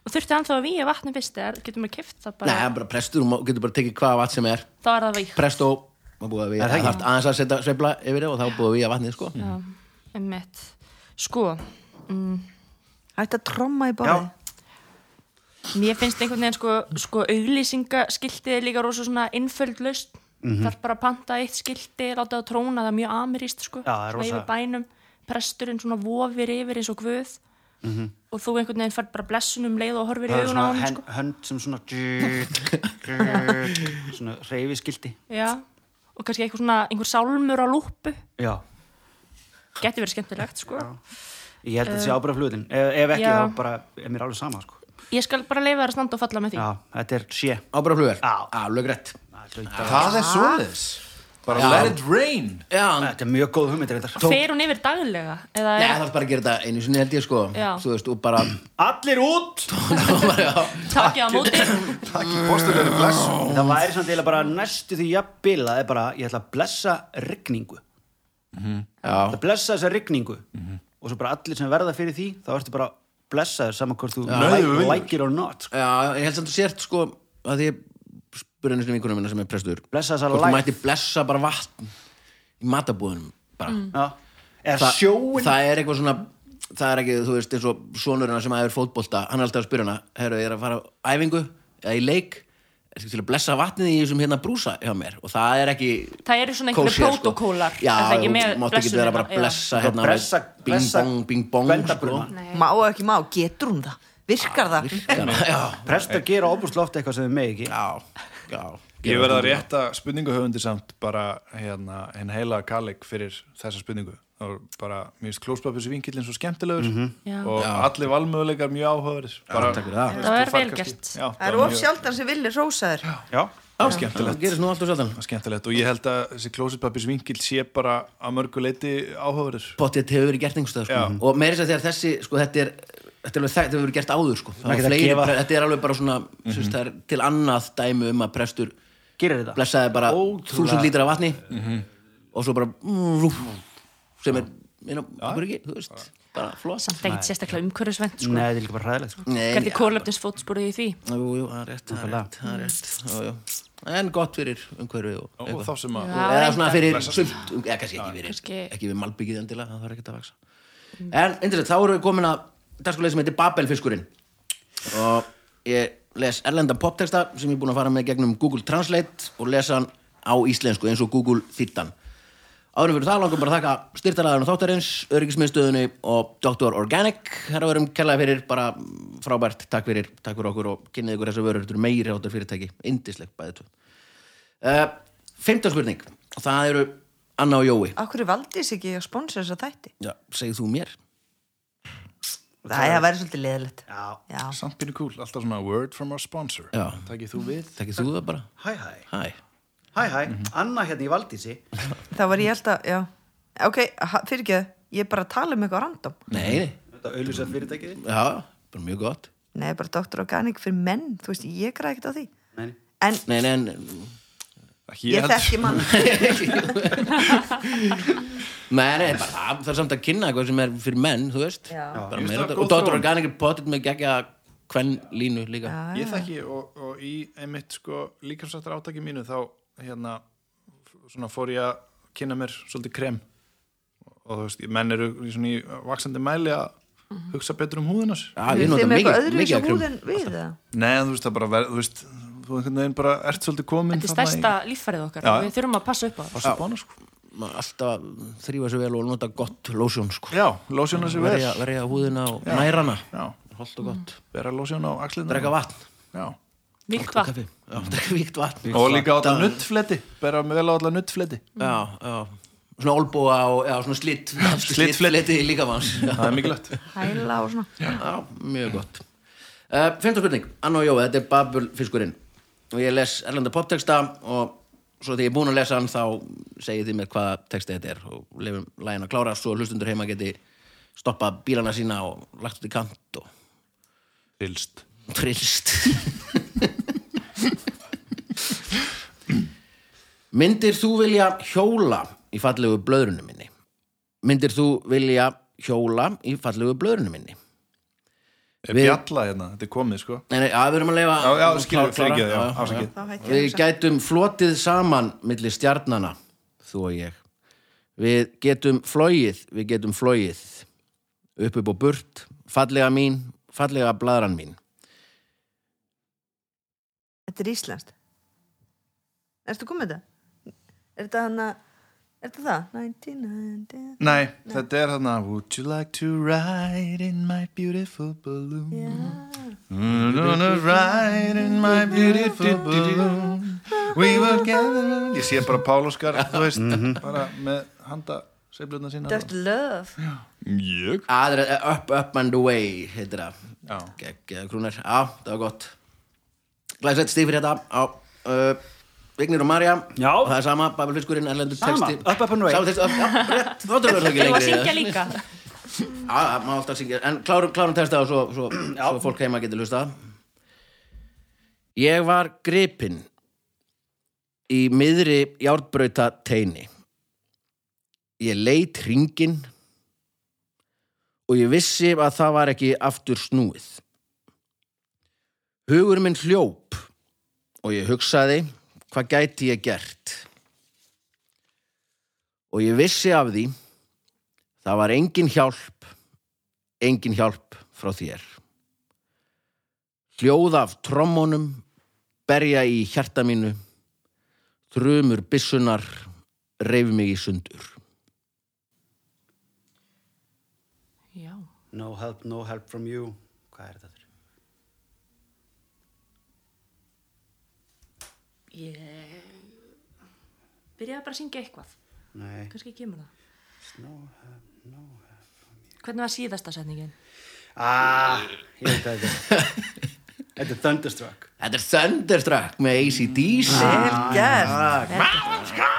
B: og þurfti hann þá að víja vatni fyrst eða getur maður kift það bara
A: Nei, bara prestur, þú má- getur bara tekið hvaða vatn sem er
B: þá er það víkt
A: Presto, maður búið að við
E: Er það ekki?
A: Það þarf aðeins að setja sveifla yfir það og þá búið við að vatnið, sko
B: Já, einmitt Sko,
D: Hætti að tromma í
E: Já,
D: báði
B: mér finnst einhvern veginn sko, sko auglýsingaskiltið er líka rosa svona innföld laust
E: Mhm.
B: þarf bara að panta eitt skilti láta það tróna, það er mjög ameríst sko
E: Já, það er
B: Svona
E: rosa-
B: yfir bænum, presturinn svona vofir yfir eins og guð og þú einhvern veginn fær bara blessunum leið og horfir
E: Mhm.
B: í
E: það er
B: augun á
E: svona
B: hann
E: hen,
B: sko.
E: hönd sem svona svona reyfiskildi
B: Já, og kannski einhver svona einhver sálmur á lúpu,
E: Já,
B: geti verið skemmtilegt sko
E: ég held að þetta sé ábúra flutin ef, ef ekki,
B: Eh, já.
E: þá bara er mér alveg sama sko.
B: Ég skal bara leifa þér að standa og falla með því
E: Já, þetta er sé
A: Ábara flugur,
E: Já.
A: alveg rétt
C: Ah. Það er svoðis Bara let it rain
A: Já, en-
E: Þetta er mjög góð hugmynd reyndar
B: Fer hún yfir daglega? Eða
A: Nei,
B: er,
A: það er bara að gera þetta einu sinni held ég, sko
B: Já.
A: Þú veist, og bara
E: Allir út!
B: takk ég á móti
C: Takk í postulegri blessu
E: Það væri samt eiginlega bara næstu því jafnbil að það er bara, ég ætla að blessa rigningu mm -hmm. að blessa þessa rigningu og svo bara allir sem verða fyrir því þá ertu bara blessaður saman hvort þú
C: Nauðugur.
E: like, like it or not sko.
A: Já, ég held samt að þú sért, sko að því ég spurði einu sinni vinkonu minna sem er prestur
E: Blessa þessa
A: hvort þú
E: life.
A: mætti blessa bara vatn í matabúðunum bara
E: Já. Er
A: Mm. Þa,
E: sjóin
A: það er eitthvað svona það er ekki, þú veist, eins og sonurina sem aður fótbolta, hann er alltaf að spyrja hana herru, ég er að fara á æfingu eða í leik ertu til að blessa vatnið í þessum hérna brúsa hjá mér og það er ekki
B: Það eru svona einhverju
A: kósí, sko.
B: prótókólar,
A: já,
B: er það ekki,
A: þú
B: með
A: mátt ekki vera
B: blessunina?
A: bara að
B: Já.
A: blessa hérna,
E: Blessa-
A: bing
E: blessa
A: bong, bing bong sko.
E: gvendabruna.
D: má og ekki má, getur hún það virkar það,
A: virkar það, já,
E: Prestar gera óbúslega oft eitthvað sem þau megi ekki
A: já, já
C: Ég verða að rétta spurninguhöfundi samt bara hérna, henn heila kallik fyrir þessa spurningu og bara, mér finnst klóspapis vinkillin svo skemmtilegur
B: Já.
C: og allir valmöguleikar mjög áhugaður bara,
A: Mhm. takk fyrir það.
C: þú
B: Það
C: þú
B: er
C: færð
B: vel
C: kannski-
B: gert.
C: Já,
D: það er
C: bara
D: of
C: mjög-
D: sjaldan sem villi rósaður
E: Já,
A: já, skemmtilegt það gerist nú alltaf sjaldan
C: skemmtilegt og ég held að þessi klóspapis vinkill sé bara að mörgu leiti áhugaður
A: potið hefur verið gert einhverstað sko.
C: Já.
A: og meira þess að þegar þessi sko, þetta er Þetta er alveg þekkt, þetta hefur verið gert áður sko. Það
E: Maður
A: var
E: geta
A: fleiri,
E: gefa-
A: Þetta er alveg bara svona mm -hmm. er til annað dæmi um að prestur
E: gerir þetta
A: blessaði bara
E: Ótrúlega-
A: þúsund lítra af vatni og svo bara mm, rúf, sem er meina, okkur ekki, þú veist bara flott
B: Samt ekkert sérstaklega umhverfisvænt sko.
E: Nei, þetta er líka bara hræðilegt sko.
A: Nei,
B: Hvernig
A: já,
B: kólöfnins fótsporið í því?
A: Jú, jú, það er rétt, það er rétt, það er rétt jú, jú. En gott fyrir umhverfi og
C: og
A: eitthvað
C: þá sem að
B: Já.
A: eða svona
B: reyndar.
A: fyrir sumt, eða kannski ekki fyrir
B: Kannski-
A: ekki við malbyggið endilega, það þarf ekki að vaksa en interessant, þá erum við komin að dagskulegð sem heitir Babelfiskurinn og ég les erlenda poptexta sem ég er búin að fara með gegnum Google Translate og lesa hann á íslensku eins og Google þýttan Áðurum fyrir það langum bara að þakka styrtaraðurinn þáttarins, öryggismiðstöðunni og Dr. Organic. Herra verum kellaði fyrir bara frábært, takk fyrir, takk fyrir okkur og kynnið ykkur þessa vörur, þetta eru meiri áttar fyrirtæki, indisleg bæði tvö. Uh, Femta spurning, og það eru Anna og Jói.
D: okkur valdi þess ekki að sponsa þess að þætti
A: Já, segið þú mér?
D: það er að vera svolítið leðilegt
E: Já,
D: já,
C: samt pínu kúl, alltaf svona word from our sponsor
A: Já.
C: takkið þú við
A: Takkið þú það bara?
E: hæ hæ,
A: Hæ.
E: hæ hæ
A: Mhm.
E: Anna hérna í Valdísi
D: þá var ég alltaf, já ok, fyrirgeðu, ég er bara að tala um eitthvað random
A: Nei, nei.
E: Þetta auðlýsað fyrirtækið þitt?
A: já, bara mjög gott.
D: Nei, bara Dr. Organic fyrir menn, þú veist, ég græði ekkert á því.
E: Nei,
D: En
A: Nei, nei, en
D: ég, þekki mann.
A: Nei, nei, bara, það er samt að kynna eitthvað sem er fyrir menn, þú veist
D: Já.
A: Bara
C: Ég veist
A: meira
C: það er
A: þetta-
C: góð
A: Og Dr.
C: þróun.
A: Organic er potið með gegja hvern línu líka
C: ég
B: Ah.
C: þekki og, og í einmitt sko líkamsrættar átaki mínu þá hérna f- svona fór ég að kynna mér svolítið krem og þú veist, menn eru í svona í vaksandi mæli að
B: Mhm.
C: hugsa betur um húðunas
A: Já, ég
D: Við
A: nota
D: þeim
A: mikið,
D: eitthvað öðru
A: mikið
D: þessu
A: af krem
D: húðin við það.
C: Nei, en þú veist, það bara ver, þú veist, þú einhvern veginn bara ert svolítið komin
B: Þetta er stærsta líffærið okkar
C: Já.
B: og við þurfum að passa upp á það.
C: Passa bánu, sko
A: Maður Alltaf að þrýfa sér vel og nota gott lósjón sko.
C: Já, lósjóna sér vel
A: verja, verja húðina og nærana
C: Já,
A: Holt og gott
C: vera lósjón á axlina
A: Drekka vatn,
C: Já
B: Víkt vatn.
A: kaffi Já, drekka víkt vatn
C: Og líka á þetta nuttfleti, bera vel á alla nuttfleti
A: Já, já Svona olbúa og já, svona slitt Slittfleti líka manns Já,
C: Það er mikilvægt
D: Hæla og svona.
A: Já, mjög gott uh, Femta spurning, Anna og Jói, þetta er Babulfiskurinn og ég les erlenda poptexta og svo þegar ég er búin að lesa hann þá segið þið mér hvaða texta þetta er og lefum lægin að klára svo hlustundur heima geti stoppa bílana sína og lagt út í kant og
C: Fylst
A: trillst Myndir þú vilja hjóla í fallegu blöðrunum minni? Myndir þú vilja hjóla í fallegu blöðrunum minni? Við-
C: Bjalla hérna, þetta er komið, sko
A: Nei, nei, að við erum að leifa
C: Já, já, skilur,
A: klára-
C: fyrirgeðu, já,
A: klára, já,
C: afsakið.
A: já.
D: Þá hætti ég að
A: Við
D: hugsa.
A: gætum flotið saman milli stjarnana, þú og ég Við getum flóið, við getum flóið upp upp og burt, fallega mín fallega bladran mín
D: Þetta er íslenskt. Erstu komið þetta? Er þetta hann að, er þetta það? 1990.
C: Nei, þetta er þarna Would you like to ride in my beautiful balloon Would you wanna ride in my beautiful balloon We will gather Ég sé bara Pál Óskar, þú veist bara með handa seiflutna sína
D: Þetta er love.
C: Mjög
A: Aðra, Ah, Up, up and away heitir það
C: Já.
A: Gekkið krúnar, já, það var gott Glæsett stífur þetta á uh, Vignir og Marja
E: Já.
A: og það er sama, Babelfiskurinn, erlendur
E: Sama,
A: texti
E: Up, Up and Away.
A: Sama texti, up, já, rétt, þá tölum við það ekki
B: Þurfum
A: lengri
B: að syngja líka.
A: Já, það má alltaf syngja En klárum, klárum testa og svo, svo, svo fólk heima getur hlustað Ég var gripinn í miðri járnbrauta teini Ég leit hringin og ég vissi að það var ekki aftur snúið Hugur minn hljóp og ég hugsaði hvað gæti ég gert og ég vissi af því það var engin hjálp engin hjálp frá þér hljóð af trommunum berja í hjarta mínu þrumur byssunar reyf mig í sundur
B: Já.
E: No help, no help from you Hvað er þetta þurr?
B: Ég byrjaði bara að syngja eitthvað.
E: Nei,
B: Kannski kemur það.
E: no help
B: Hvernig var síðasta setningin?
E: Ah, ég veit hvað þetta er. Þetta er Thunderstruck
A: Þetta er Thunderstruck með ACDC
D: Vel gert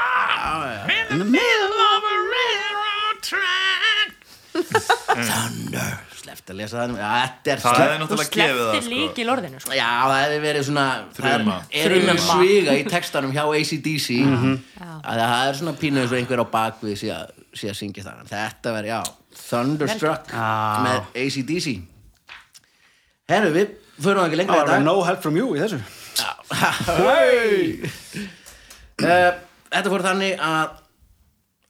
A: Sleppt að lesa það nú. Já, Þetta er
C: Það
A: sleppt
C: hefði
B: Þú
C: náttúrulega gefið það
B: slepptir
C: sko.
B: líkil orðinu, sko.
A: Já, það hefði verið svona
C: Þruma.
A: það Er innan sviga í textanum hjá ACDC
E: Mhm.
A: að það er svona pínu eins og einhver á bakvið sé að, sé að syngja það En Þetta verið, já, Thunderstruck
E: Já.
A: með ACDC Herru, við förum ekki lengra í
E: Það var
A: dag
E: með no help from you í þessu
A: Eh, Þetta fór þannig að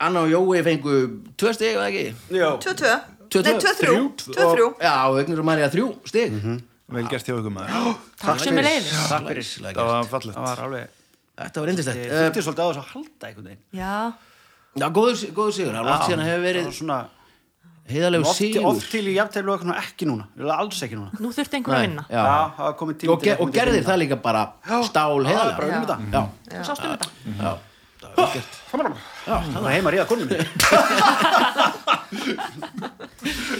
A: Anna og Jói fengu tvö stig, eða ekki?
E: Já,
D: 2-2
A: Tvö,
D: Nei,
A: tvö.
C: Þrjú.
D: 2-3
A: Já, Vignur og Marja þrjú stig
E: Mhm.
C: Vel gert hjá ykkur maður
B: Takk sem er leiðis.
A: Takk fyrir Lækist.
C: Það var fallegt
E: það var alveg
A: Þetta var indislegt
E: Ég
A: Eh,
E: þurfti svolítið á þessu að halda einhvern veginn
D: Já,
A: Já, góður, góður sigur, það er langt síðan að hefur
E: Það var
A: verið
E: svona
A: heiðalegu
E: oft,
A: sigur
E: oft til í jafnteflu og eitthvað svona, ekki núna Ég vil Alls ekki núna
B: Nú þurfti einhver að
A: Nei,
B: vinna.
A: já.
E: Já, það var komið tími
A: og, ge og gerði það líka bara stál
E: Það er
A: heiðalega
E: bara unnum þetta
A: Já,
B: Þú sástum þetta.
A: já, það var ekkert
E: Það var heima að ríða konum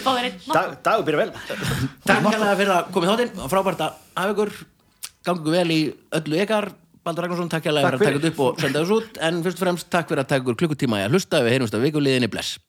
B: Báðir einn.
E: Dagur byrja vel
A: Takk hérlega fyrir að komið þáttinn og frábært að hafa ykkur gangi ykkur vel í öllu ykkar Baldur Ragnarsson, takk hérlega
E: Takk
A: fyrir að taka
E: fyrir.
A: þetta upp og senda þessu út en fyrst og fremst takk fyrir að taka ykkur klukkutíma í að hlusta við heyrumst að vikuliðinni bless